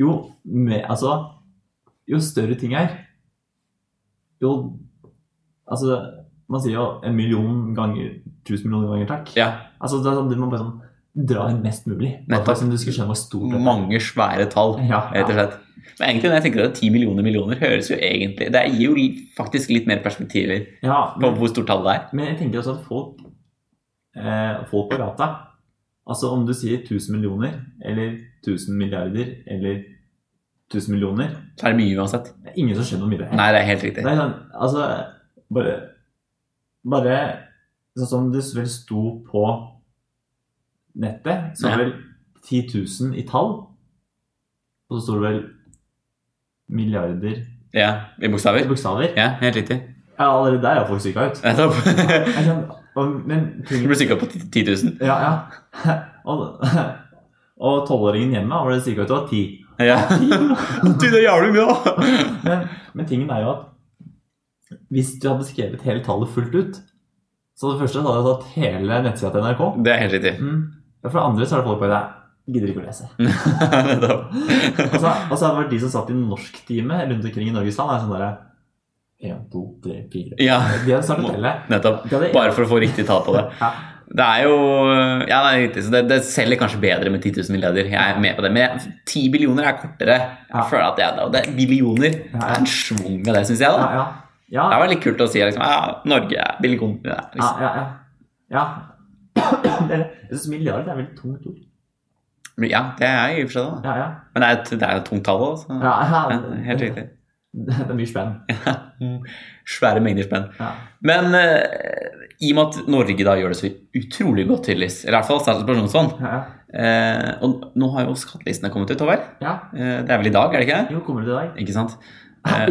B: jo, med, altså, jo større ting er, jo Altså, man sier jo en million ganger tusen millioner ganger takk.
A: Ja,
B: Altså, det er sånn, Du må bare sånn dra inn mest mulig.
A: Nettopp.
B: Bare sånn du skulle skjønne hvor stort det er.
A: Mange svære tall,
B: Ja,
A: rett og slett. Men egentlig når jeg tenker at 10 millioner millioner høres jo egentlig Det gir jo faktisk litt mer perspektiver
B: ja,
A: på
B: men,
A: hvor stort tallet er.
B: men jeg tenker også at folk eh, folk på gata Altså om du sier 1000 millioner eller 1000 milliarder eller 1000 millioner
A: Så er det mye uansett.
B: Det er ingen som skjønner hvor mye det er.
A: Nei, det er helt riktig.
B: Det er sånn, altså, bare, bare sånn som det vel sto på nettet, så var det vel 10 000 i tall. Og så sto det vel milliarder
A: Ja, I
B: i
A: bokstaver.
B: bokstaver.
A: Ja, helt riktig.
B: Ja, allerede der er folk syka ut.
A: Nettopp.
B: Jeg kan- og- Men
A: Du
B: ting
A: ble syka på 10 000.
B: Ja, ja. Og, og tolvåringen hjemme han ble syka ut av ti.
A: Ja. Du, det er jævlig mye, da!
B: Men, men tingen er jo at hvis du hadde skrevet hele tallet fullt ut, så det første så hadde du tatt hele nettsida til NRK.
A: Det er helt riktig.
B: Mm. Ja, For det andre så er det folk bare der gidder ikke å lese.
A: Nettopp.
B: Og så, og så hadde det vært de som satt i norsktime rundt omkring i Norges land, er sånn derre Én, to, tre, fire
A: Ja,
B: De hadde startet å telle.
A: nettopp.
B: De hadde-
A: Bare for å få riktig tall på det.
B: Ja.
A: Det er jo Ja, det er riktig. Så det, det selger kanskje bedre med 10 000 milliarder. Jeg er med på det. Men jeg- 10 billioner er kortere.
B: Ja.
A: Jeg føler at jeg, og det er Billioner det er en schwung med det, syns jeg.
B: Ja,
A: da
B: ja. ja,
A: Det var litt kult å si liksom, ja, Norge er billion. Ja, liksom.
B: Ja, ja, ja. ja. Det er- Jeg synes milliard er veldig tungt ord.
A: ja, det er jo i og for seg det. da.
B: Ja, ja.
A: Men det er et- det er jo et tungt tall òg.
B: ja,
A: Ja,
B: ja.
A: helt riktig.
B: Det er mye spenn.
A: Svære mengder spenn.
B: Ja.
A: Men eh, i og med at Norge da gjør det så utrolig godt, tydeligvis, eller i hvert fall Statens pensjonsfond
B: Ja, ja.
A: eh, Og nå har jo skattelistene kommet ut, Håvard.
B: ja.
A: Eh, det er vel i dag, er det ikke det? Eh.
B: Jo, kommer du til i dag?
A: Ikke sant?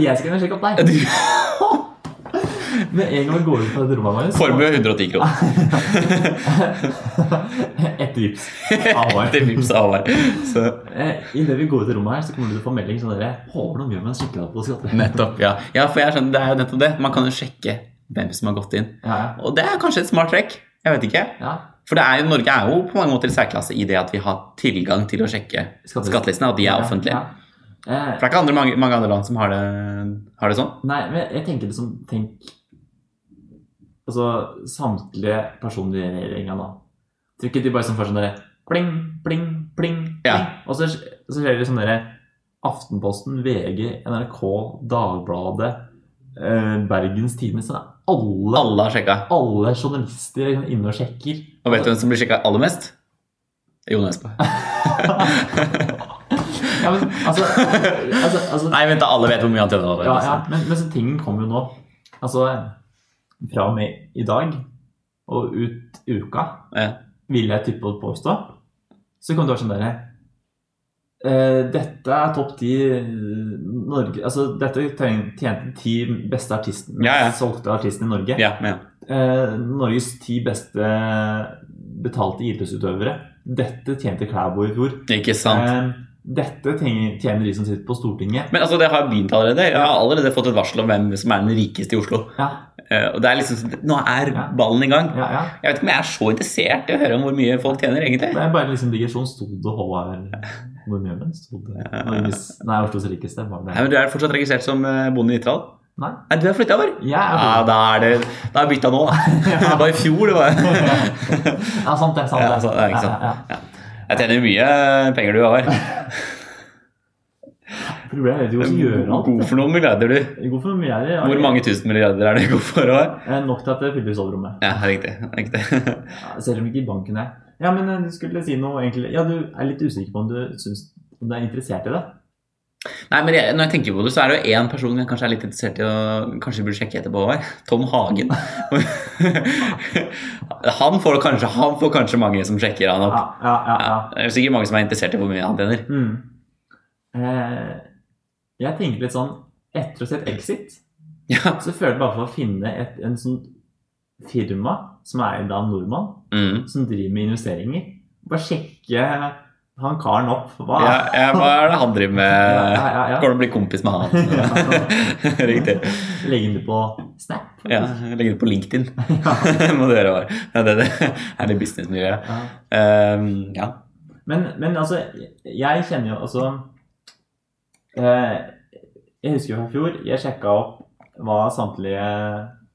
B: Jeg skal inn og sjekke opp deg.
A: Du,
B: Med en gang vi går ut fra det rommet vårt så-
A: Formue 110 kroner.
B: Et vips. Alvor.
A: Til vips av Håvard. Så
B: Eh, Idet vi går ut av rommet her, så kommer du til å få melding sånn dere Håper noe mye med en sykkelhatt på skatte.
A: nettopp, ja. ja. For jeg skjønner, det er jo nettopp det. Man kan jo sjekke hvem som har gått inn.
B: Ja, ja.
A: Og det er kanskje et smart trekk. Jeg vet ikke.
B: ja.
A: For det er jo, Norge er jo på mange måter i særklasse i det at vi har tilgang til å sjekke
B: Skattelistene.
A: skattelistene, og at de er offentlige.
B: Ja. Eh,
A: For det er ikke andre, mange, mange andre land som har det, har det sånn.
B: Nei, men jeg tenker liksom Tenk Altså samtlige personer i regjeringa da. Tror ikke de bare som får sånn derre pling, pling, pling. pling.
A: Ja.
B: Og så, så skjer det sånn derre Aftenposten, VG, NRK, Dagbladet, eh, Bergens Tidende Så er alle,
A: Alle har sjekka.
B: alle journalister liksom inne og sjekker.
A: Og vet du hvem som blir sjekka aller mest? Jon Espe.
B: Ja, men altså, altså, altså
A: Nei, vent da, alle vet hvor mye han tjener. allerede.
B: Ja, ja. Men, men så tingen kommer jo nå. Altså, fra og med i dag og ut uka,
A: Ja.
B: vil jeg tippe og påstå, så kommer det til å være sånn derre eh, Dette er topp ti Norge Altså, dette treng- tjente ti beste artistene,
A: Ja, ja.
B: solgte artistene i Norge.
A: Ja, men ja.
B: Eh, Norges ti beste betalte idrettsutøvere. Dette tjente Klæbo i fjor.
A: Ikke sant.
B: Eh, dette tjener tjener de som sitter på Stortinget.
A: Men altså, det har begynt allerede. Jeg har allerede fått et varsel om hvem som er den rikeste i Oslo.
B: Ja,
A: Eh, Og det er liksom, Nå er ballen i gang.
B: ja, ja.
A: Jeg vet ikke om jeg er så interessert i å høre om hvor mye folk tjener, egentlig.
B: Det er bare en liksom digresjon. Sto det HR Hvor mye men sto det Norges, Nei, Oslos rikeste var
A: Nei,
B: det
A: men Du er fortsatt registrert som eh, bonde i Nittedal?
B: Nei.
A: Nei, du er flytta over?
B: Jeg er
A: Ja, da er det Da er bytta nå, da. Det var i fjor, det var.
B: Ja, sant det. sant
A: Ja,
B: det.
A: sant, det er ikke sant.
B: Ja,
A: Jeg tjener mye eh, penger, du, Håvard.
B: ja. Problemet er jo hvordan gjøre alt.
A: God for noen milliarder, du.
B: God for mye er det.
A: Hvor mange tusen milliarder er det god for, Håvard?
B: Eh, Nok til at det fyller soverommet.
A: Ja, riktig. riktig.
B: Ja, Selv om ikke i banken er Ja, men eh, du skulle si noe egentlig Ja, du er litt usikker på om du syns om du er interessert i det.
A: Nei, men jeg, når jeg tenker på det, så er det jo én person jeg kanskje er litt interessert i å kanskje burde sjekke etterpå. Her. Tom Hagen. han, får kanskje, han får kanskje mange som sjekker han
B: Ja,
A: opp.
B: ja, ja.
A: Ja,
B: ja.
A: det er sikkert mange som er interessert i hvor mye han tjener.
B: Mm. Eh, jeg tenker litt sånn Etter å ha sett Exit
A: Ja.
B: så føler jeg bare for å finne et en sånn firma som er da en nordmann,
A: Mm.
B: som driver med investeringer. Bare sjekke han karen opp. Hva?
A: Ja, eh, ja, hva er det han driver med?
B: ja, ja, ja.
A: Går det å bli kompis med han? Riktig.
B: Legge den ut på Snap.
A: Ja, Legge det på LinkedIn. Må du gjøre. Håvard. Ja, det, det er det businessmiljøet.
B: Ja.
A: Um, ja.
B: Men, men altså, jeg kjenner jo altså eh, Jeg husker jo fra fjor, jeg sjekka opp hva samtlige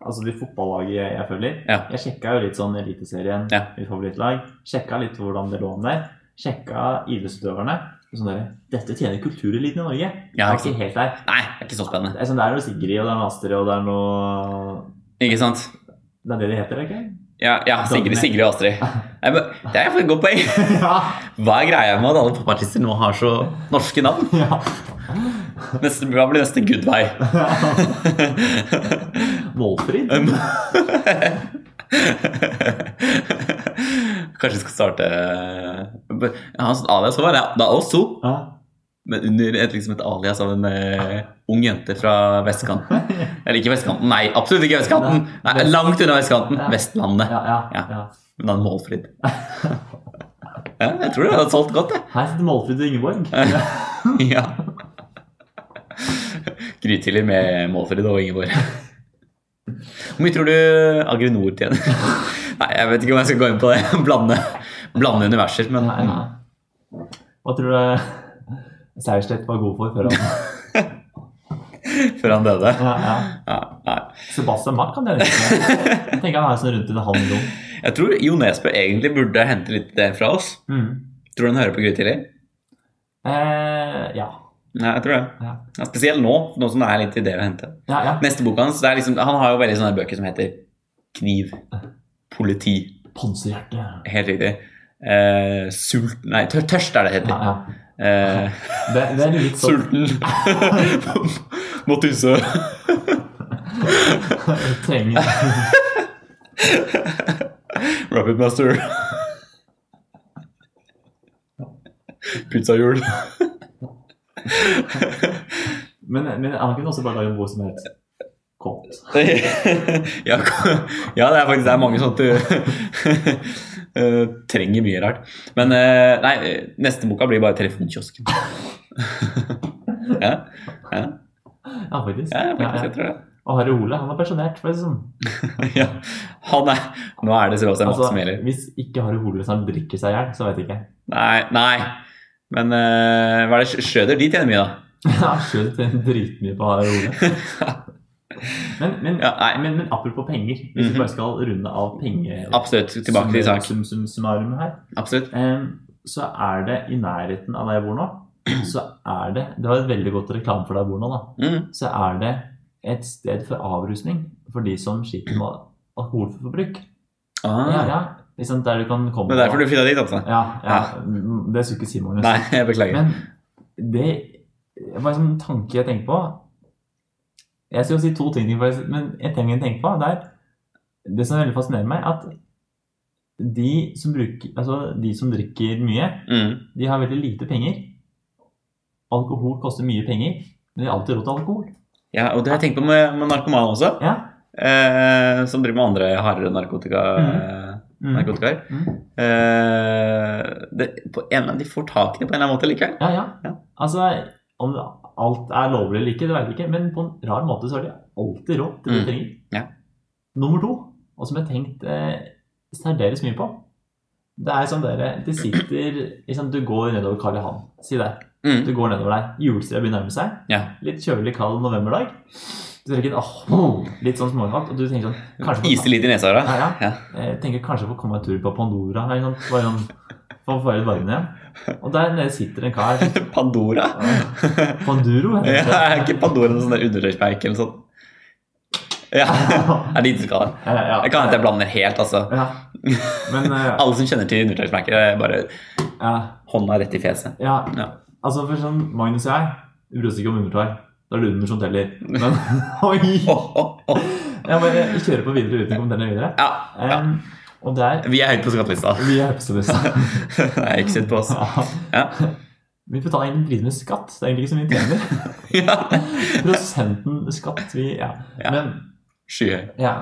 B: Altså de fotballaget jeg, jeg følger.
A: Ja.
B: Jeg sjekka jo litt sånn Eliteserien,
A: Ja.
B: mitt favorittlag. Sjekka litt hvordan det lå an der. Sjekka idrettsutøverne. og Sånn der, Dette tjener kultureliten i Norge.
A: Ja, ikke
B: Jeg er
A: sant.
B: ikke helt der.
A: Nei, det er ikke så spennende.
B: Det er, sånn, det er noe Sigrid, og det er noe Astrid, og det er noe
A: Ikke sant?
B: Det er det de heter, ikke
A: Ja, ja Sigrid, Sigrid og Astrid. Nei, men Det er et godt poeng.
B: Ja.
A: Hva er greia med at alle popartister nå har så norske navn?
B: ja.
A: Neste, hva blir neste Goodway?
B: Målfrid.
A: Um. Kanskje vi skal starte eh, Hans alias var det, det er også,
B: Ja.
A: men under et, liksom et alias av en eh, ung jente fra vestkanten. Eller ikke vestkanten, nei, absolutt ikke vestkanten. Nei, langt unna vestkanten.
B: Ja.
A: Vestlandet.
B: Ja, ja,
A: Ja.
B: ja.
A: Men da en Målfrid. Ja, jeg tror det hadde solgt godt, jeg.
B: Her sitter Målfrid og Ingeborg.
A: Ja. Grytidlig med Målfrid og Ingeborg. Hvor mye tror du Agrinor tjener? Nei, jeg vet ikke om jeg skal gå inn på det. Blande, blande universer, men
B: Nei, nei. Hva tror du Seierstedt var god for før han
A: før han døde.
B: ja, ja.
A: Ja, nei.
B: Sebastian Mack kan det ikke. Jeg tenker han har en sånn rundt i det halve rom.
A: Jeg tror Jo Nesbø egentlig burde hente litt det fra oss.
B: Mm.
A: Tror du han hører på Grytidlig?
B: Eh, ja.
A: Nei, jeg tror det.
B: Ja.
A: Ja, spesielt nå, nå som det er litt ideer å hente.
B: Ja, ja.
A: Neste bok hans, det er liksom, Han har jo veldig sånne bøker som heter Kniv, politi,
B: Panserhjerte.
A: helt riktig. Eh, sult Nei, tør, tørst er det det
B: Ja,
A: heter.
B: ja.
A: Eh,
B: Det, det er litt sånn
A: Sulten. Må tisse.
B: trenger
A: Rapid Master. Pizzahjul.
B: Men, men han kunne også bare lage en bok som het Kopp. altså.
A: ja, ko- ja, det er faktisk det er mange sånn at du eh, trenger mye rart. Men eh, nei, eh, neste boka blir bare 'Telefonkiosken'. ja, ja,
B: Ja, faktisk.
A: ja, faktisk, jeg tror det.
B: Og Harry Ole, han er pensjonert. for å si det sånn.
A: ja. Han er, nå er det Sebastian Matt
B: Altså,
A: som gjelder.
B: hvis ikke Harry Ole snart drikker seg i hjel, så vet jeg ikke.
A: Nei, nei. Men eh, hva er det Schrøder? De tjener mye, da.
B: Jeg har skjønt dritmye på Harry Ole. Men, men,
A: Ja, nei. Mhm.
B: men, men apropos penger, hvis vi bare skal runde av penger...
A: Absolutt. Tilbake til sak.
B: Sum, sum, summarum her.
A: Absolutt.
B: Em, så er det i nærheten av der jeg bor nå, så er det Det var et veldig godt reklame for der jeg bor nå, da.
A: Mm.
B: Så er det et sted for avrusning for de som sliter med alkoholforbruk. Ja,
A: Ah.
B: ja. Liksom der du kan komme
A: Det er derfor du flytta dit, altså?
B: ja, ja,
A: Ja.
B: mm, Det skulle ikke si, Magnus.
A: Nei, jeg beklager.
B: Men det var en sånn tanke jeg tenkte på. Jeg skal si to ting, faktisk, men en ting jeg tenker på, det er det som veldig fascinerer meg, at de som, bruker, altså de som drikker mye,
A: Mm.
B: de har veldig lite penger. Alkohol koster mye penger, men de har alltid råd til alkohol.
A: Ja, og det har jeg tenkt på med, med narkomane også.
B: Ja.
A: Eh, som driver med andre hardere narkotika,
B: Mm.
A: narkotikaer.
B: Mm.
A: Eh, det, på en eller annen, de får tak i det på en eller annen måte likevel.
B: Ja, ja.
A: Ja.
B: Altså, om det- alt er lovlig eller ikke, det vet jeg ikke, men på en rar måte så har de alltid råd til det de
A: Mm.
B: trenger.
A: Ja.
B: Nummer to, og som jeg har tenkt eh, særdeles mye på, det er som dere, det sitter liksom, Du går nedover Karl Johan, si det.
A: Mm.
B: Du går nedover der. Julestria begynner å nærme seg.
A: Ja.
B: Litt kjølig, kald novemberdag. Du tenker åh, litt sånn småkaldt, og du tenker sånn kanskje
A: Iser litt i nesa. Da.
B: Ja, ja.
A: Ja.
B: Jeg tenker kanskje jeg får komme meg en tur på Pandora. Eller sånn, bare sånn, for å få litt varmen igjen. Og der nede sitter en kar.
A: Pandora?
B: eh, Panduro,
A: Ja,
B: heter
A: er ikke Pandora noen sånn der undertøysmerke eller sånn? Ja, det er lite skala.
B: Ja, ja.
A: Det kan hende jeg blander helt, altså.
B: Ja. Men eh,
A: Alle som kjenner til undertøysmerker, er bare
B: ja,
A: hånda rett i fjeset.
B: ja.
A: Ja.
B: Altså, for sånn Magnus og jeg, vi bryr oss ikke om undertøy. Da er det under som teller. Men oi!
A: Åh, åh, åh.
B: Jeg bare kjører på videre uten å kommentere videre.
A: Ja, ja.
B: Em, og der
A: Vi er høyt på skattelista.
B: Vi er høpseløse.
A: Det er ikke synd på oss. Ja.
B: Vi betaler egentlig dritt med skatt. Det er egentlig ikke så mye vi tjener.
A: Ja.
B: Prosenten skatt vi Ja.
A: Ja.
B: Men,
A: Skyhøy.
B: ja.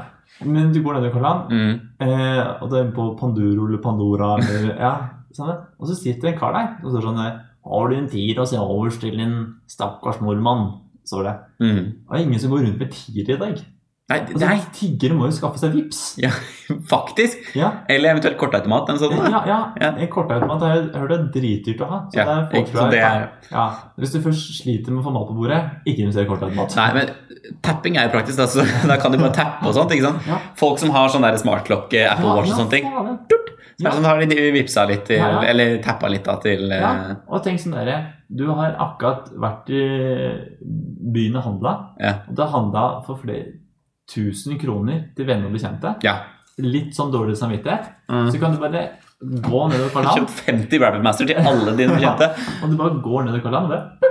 B: Men du går ned i Kolland,
A: Mm.
B: eh, og det er på Panduro eller Pandora eller Ja, sånn det. Og så sitter en kar der og står sånn eh, Har du en tier å se overs til en stakkars nordmann? Står det.
A: Mm.
B: Og det er ingen som går rundt med tier i dag.
A: Nei,
B: Altså,
A: nei,
B: Tiggere må jo skaffe seg vips.
A: ja, faktisk.
B: Ja,
A: Eller eventuelt kortautomat. En sånn. da.
B: ja, ja.
A: Ja.
B: En kortautomat er jo- jeg har hørt det er dritdyrt å ha. Så
A: Ja,
B: det er folk
A: ikke-
B: fra
A: så det er,
B: ja. Hvis du først sliter med å få mat på bordet, ikke invester i kortautomat.
A: nei, men tapping er jo praktisk. Da, så da kan du bare tappe og sånt. ikke sant?
B: Ja.
A: Folk som har sånn der smartklokke, Apple Watch og sånne ting.
B: faen, ja.
A: Så er det sånn, har de vipsa litt til,
B: Ja, ja.
A: eller tappa litt da til eh,
B: Ja, og tenk sånn dere, du har akkurat vært i byen og handla.
A: Ja.
B: Og du har handla for flere tusen kroner til venner og bekjente.
A: ja.
B: Litt sånn dårlig samvittighet.
A: Mm.
B: Så kan du bare gå nedover
A: Du har
B: Karl
A: kjøpt 50 Rabbit Master til alle dine bekjente.
B: og du bare går nedover Karl Johan, og det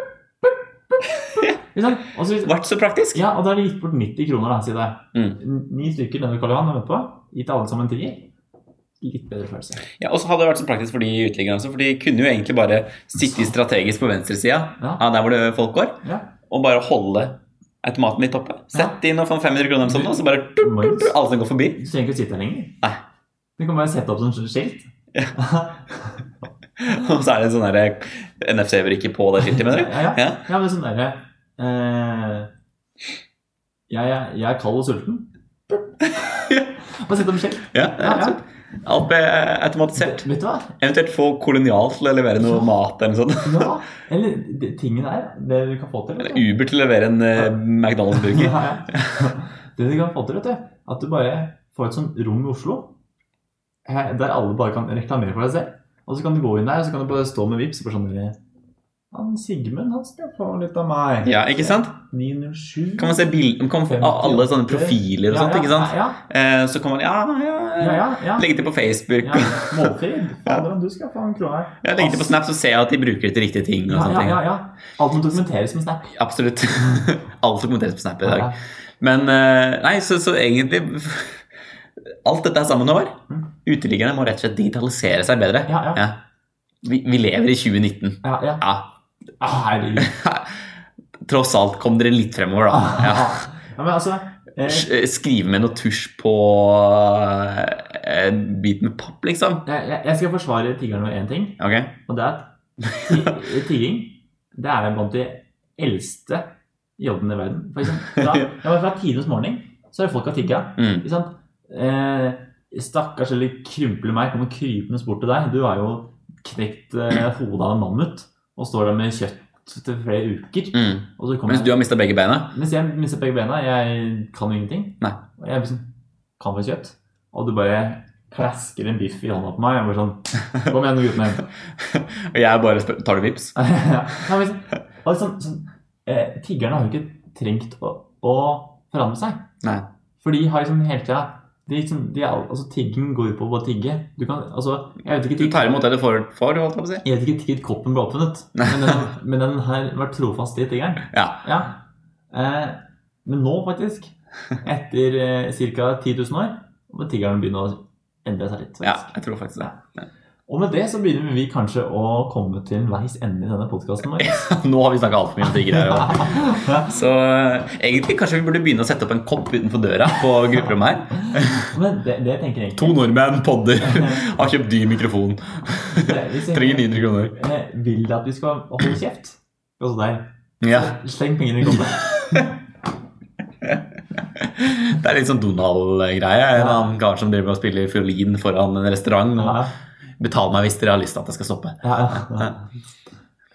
B: Ikke sant? Og så-
A: Vært så praktisk.
B: Ja, og da har de gitt bort 90 kroner, da, sier det.
A: Mm.
B: Ni stykker nedover Karl Johan og vent på. Gitt alle sammen en tier. Litt bedre følelse.
A: Ja, og så hadde det vært så praktisk for de uteliggerne også, for de kunne jo egentlig bare sitte strategisk på venstresida
B: Ja.
A: av der hvor det folk går,
B: Ja.
A: og bare holde automaten litt oppe. Sett inn og få 500 kroner eller sånn, og så bare tut, tut, tut, alle som går forbi.
B: Du trenger ikke å sitte her lenger.
A: Nei.
B: Du kan bare sette opp sånn skilt.
A: Og så er det en sånn der NFC-brikke på det skiltet, mener du?
B: Ja, ja.
A: Ja.
B: Ja, men sånn derre eh, jeg, jeg, jeg er kald og sulten. Bare sett om skjell.
A: ja, det
B: Ja,
A: er
B: ja.
A: sant. Alt ble eh, automatisert.
B: Vet du hva?
A: Eventuelt få kolonial til å levere noe mat eller noe sånt.
B: Ja. Eller det, tingen er det du kan få til. vet
A: Eller
B: du.
A: Uber til å levere en eh, McDonald's-burger.
B: Ja, ja. Det du kan få til, vet du, at du bare får et sånt rom i Oslo eh, der alle bare kan reklamere for deg selv. Og så kan du gå inn der, og så kan du bare stå med vips og bare sånn derre, Han Sigmund, han skal få litt av meg.
A: Ja, ikke sant?
B: 907
A: Kan man se bild, kan man få alle sånne profiler og sånt, ikke sant?
B: Ja,
A: Eh, Så kan man ja, ja,
B: ja. ja, ja, ja.
A: legge til på Facebook.
B: Ja, Målfrid. Fader, om du skal få en krone her.
A: Jeg legger til på Snap, så ser jeg at de bruker det til riktige ting. og
B: Ja,
A: sånne
B: ja,
A: ting.
B: ja, ja. Alt må dokumenteres med Snap.
A: Absolutt. Alt dokumenteres på Snap i dag.
B: Ja,
A: Men eh, nei, så, så egentlig Alt dette er sammen over. Uteliggerne må rett og slett digitalisere seg bedre.
B: Ja, ja.
A: Vi, vi lever i 2019.
B: ja, ja.
A: Ja.
B: Ah, Herregud. Ah.
A: Tross alt kom dere litt fremover, da.
B: Ja, men altså, Eh,
A: Eh, Skrive med noe tusj på eh, en bit med papp, liksom.
B: jeg, jeg- jeg skal forsvare tiggerne med én ting,
A: Ok.
B: og det er at ti- tigging det er blant de eldste jobbene i verden. For eksempel, fra, ja, men fra tidenes morgen så er det folk har tigga.
A: Mm.
B: Ikke sant? Eh, stakkars eller krymple meg kommer krypende bort til deg. Du har jo knekt eh, hodet av en mammut og står der med kjøtt til flere uker.
A: Mm.
B: Og så kommer
A: Mens du har mista begge beina.
B: Mens jeg mister begge bena, jeg kan jo ingenting.
A: Nei.
B: Og jeg blir sånn Kan få kjøtt. Og du bare klasker en biff i hånda på meg. Jeg bare sånn Kom igjen, gutten min.
A: Og jeg bare spør Tar du vips?
B: Ja, men liksom- og sånn, sånn, eh, tiggerne har jo ikke trengt å, å forandre seg.
A: Nei.
B: For de har liksom hele tida de liksom, de er, al- altså, Tigging går jo på å bare tigge. Du kan, altså, jeg vet ikke
A: Du tar imot det du får, får holdt jeg på å si.
B: Jeg vet ikke tigget koppen ble oppfunnet, men den, men den har vært trofast i tiggeren.
A: Ja.
B: Ja. Eh, men nå, faktisk, etter eh, ca. 10 000 år, må tiggeren begynne å endre seg litt.
A: ja,
B: faktisk.
A: jeg tror faktisk det.
B: Og med det så begynner vi kanskje å komme til veis ende i denne podkasten vår.
A: Nå har vi snakka altfor mye om digger her. og- Så eh, egentlig kanskje vi burde begynne å sette opp en kopp utenfor døra på grupperommet her.
B: Men det, det tenker jeg
A: To nordmenn podder. Har kjøpt dyr mikrofon.
B: egentlig.
A: Trenger 900 kroner.
B: Eh, liksom- Vil de at vi skal holde kjeft? Altså der.
A: Ja,
B: Sleng pengene i kontoen.
A: Det er litt sånn Donald-greie. En annen kar som driver og spiller fiolin foran en restaurant. Og
B: Ja,
A: betal meg hvis dere har lyst til at jeg skal stoppe.
B: ja, ja.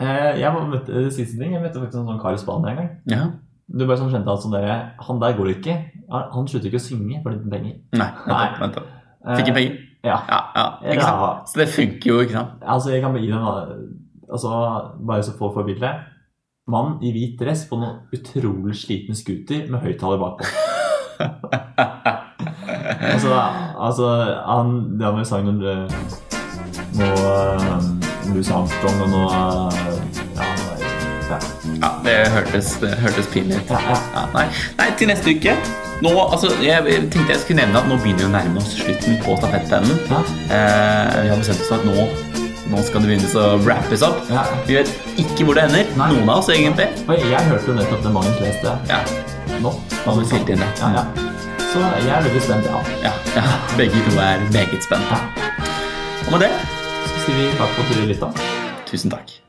B: Eh, Jeg var- møtte, eh, siste ting, jeg møtte faktisk en sånn kar i Spania en gang.
A: Ja.
B: Du bare sånn skjønte at sånn dere, han der går det ikke. Han, han slutter ikke å synge for litt penger.
A: Nei,
B: Nei.
A: vent, da, vent. da.
B: Eh,
A: Fikk en penger?
B: Ja.
A: Ja, ja. Ikke sant?
B: Ja.
A: Så det funker jo, ikke sant?
B: Altså, jeg kan bare gi dem eh, altså, Bare så få forbildet. Mann i hvit dress på noen utrolig sliten scooter med høyttaler bakpå. altså, altså han, Det han vel sang når det- Noe eh, Louis Armstrong og noe eh, ja, ja.
A: Ja, det hørtes, det hørtes pinlig ut.
B: Ja, ja.
A: Ja, nei. nei, til neste uke. Nå, altså, jeg tenkte jeg skulle nevne at nå begynner vi å nærme oss slutten på stafettpennen.
B: Ja.
A: Eh, vi har bestemt oss for at nå, nå skal det begynnes å wrappes opp.
B: Ja.
A: Vi vet ikke hvor det ender.
B: Nei.
A: Noen av oss, egentlig.
B: For jeg hørte jo nettopp det Magnus leste
A: Ja,
B: nå.
A: nå har vi spilt inn det.
B: Ja, ja. Så jeg er veldig spent, ja.
A: Ja, ja. Begge to er meget spent.
B: ja.
A: Og med det,
B: Så sier vi takk for at dere lytta.
A: tusen takk.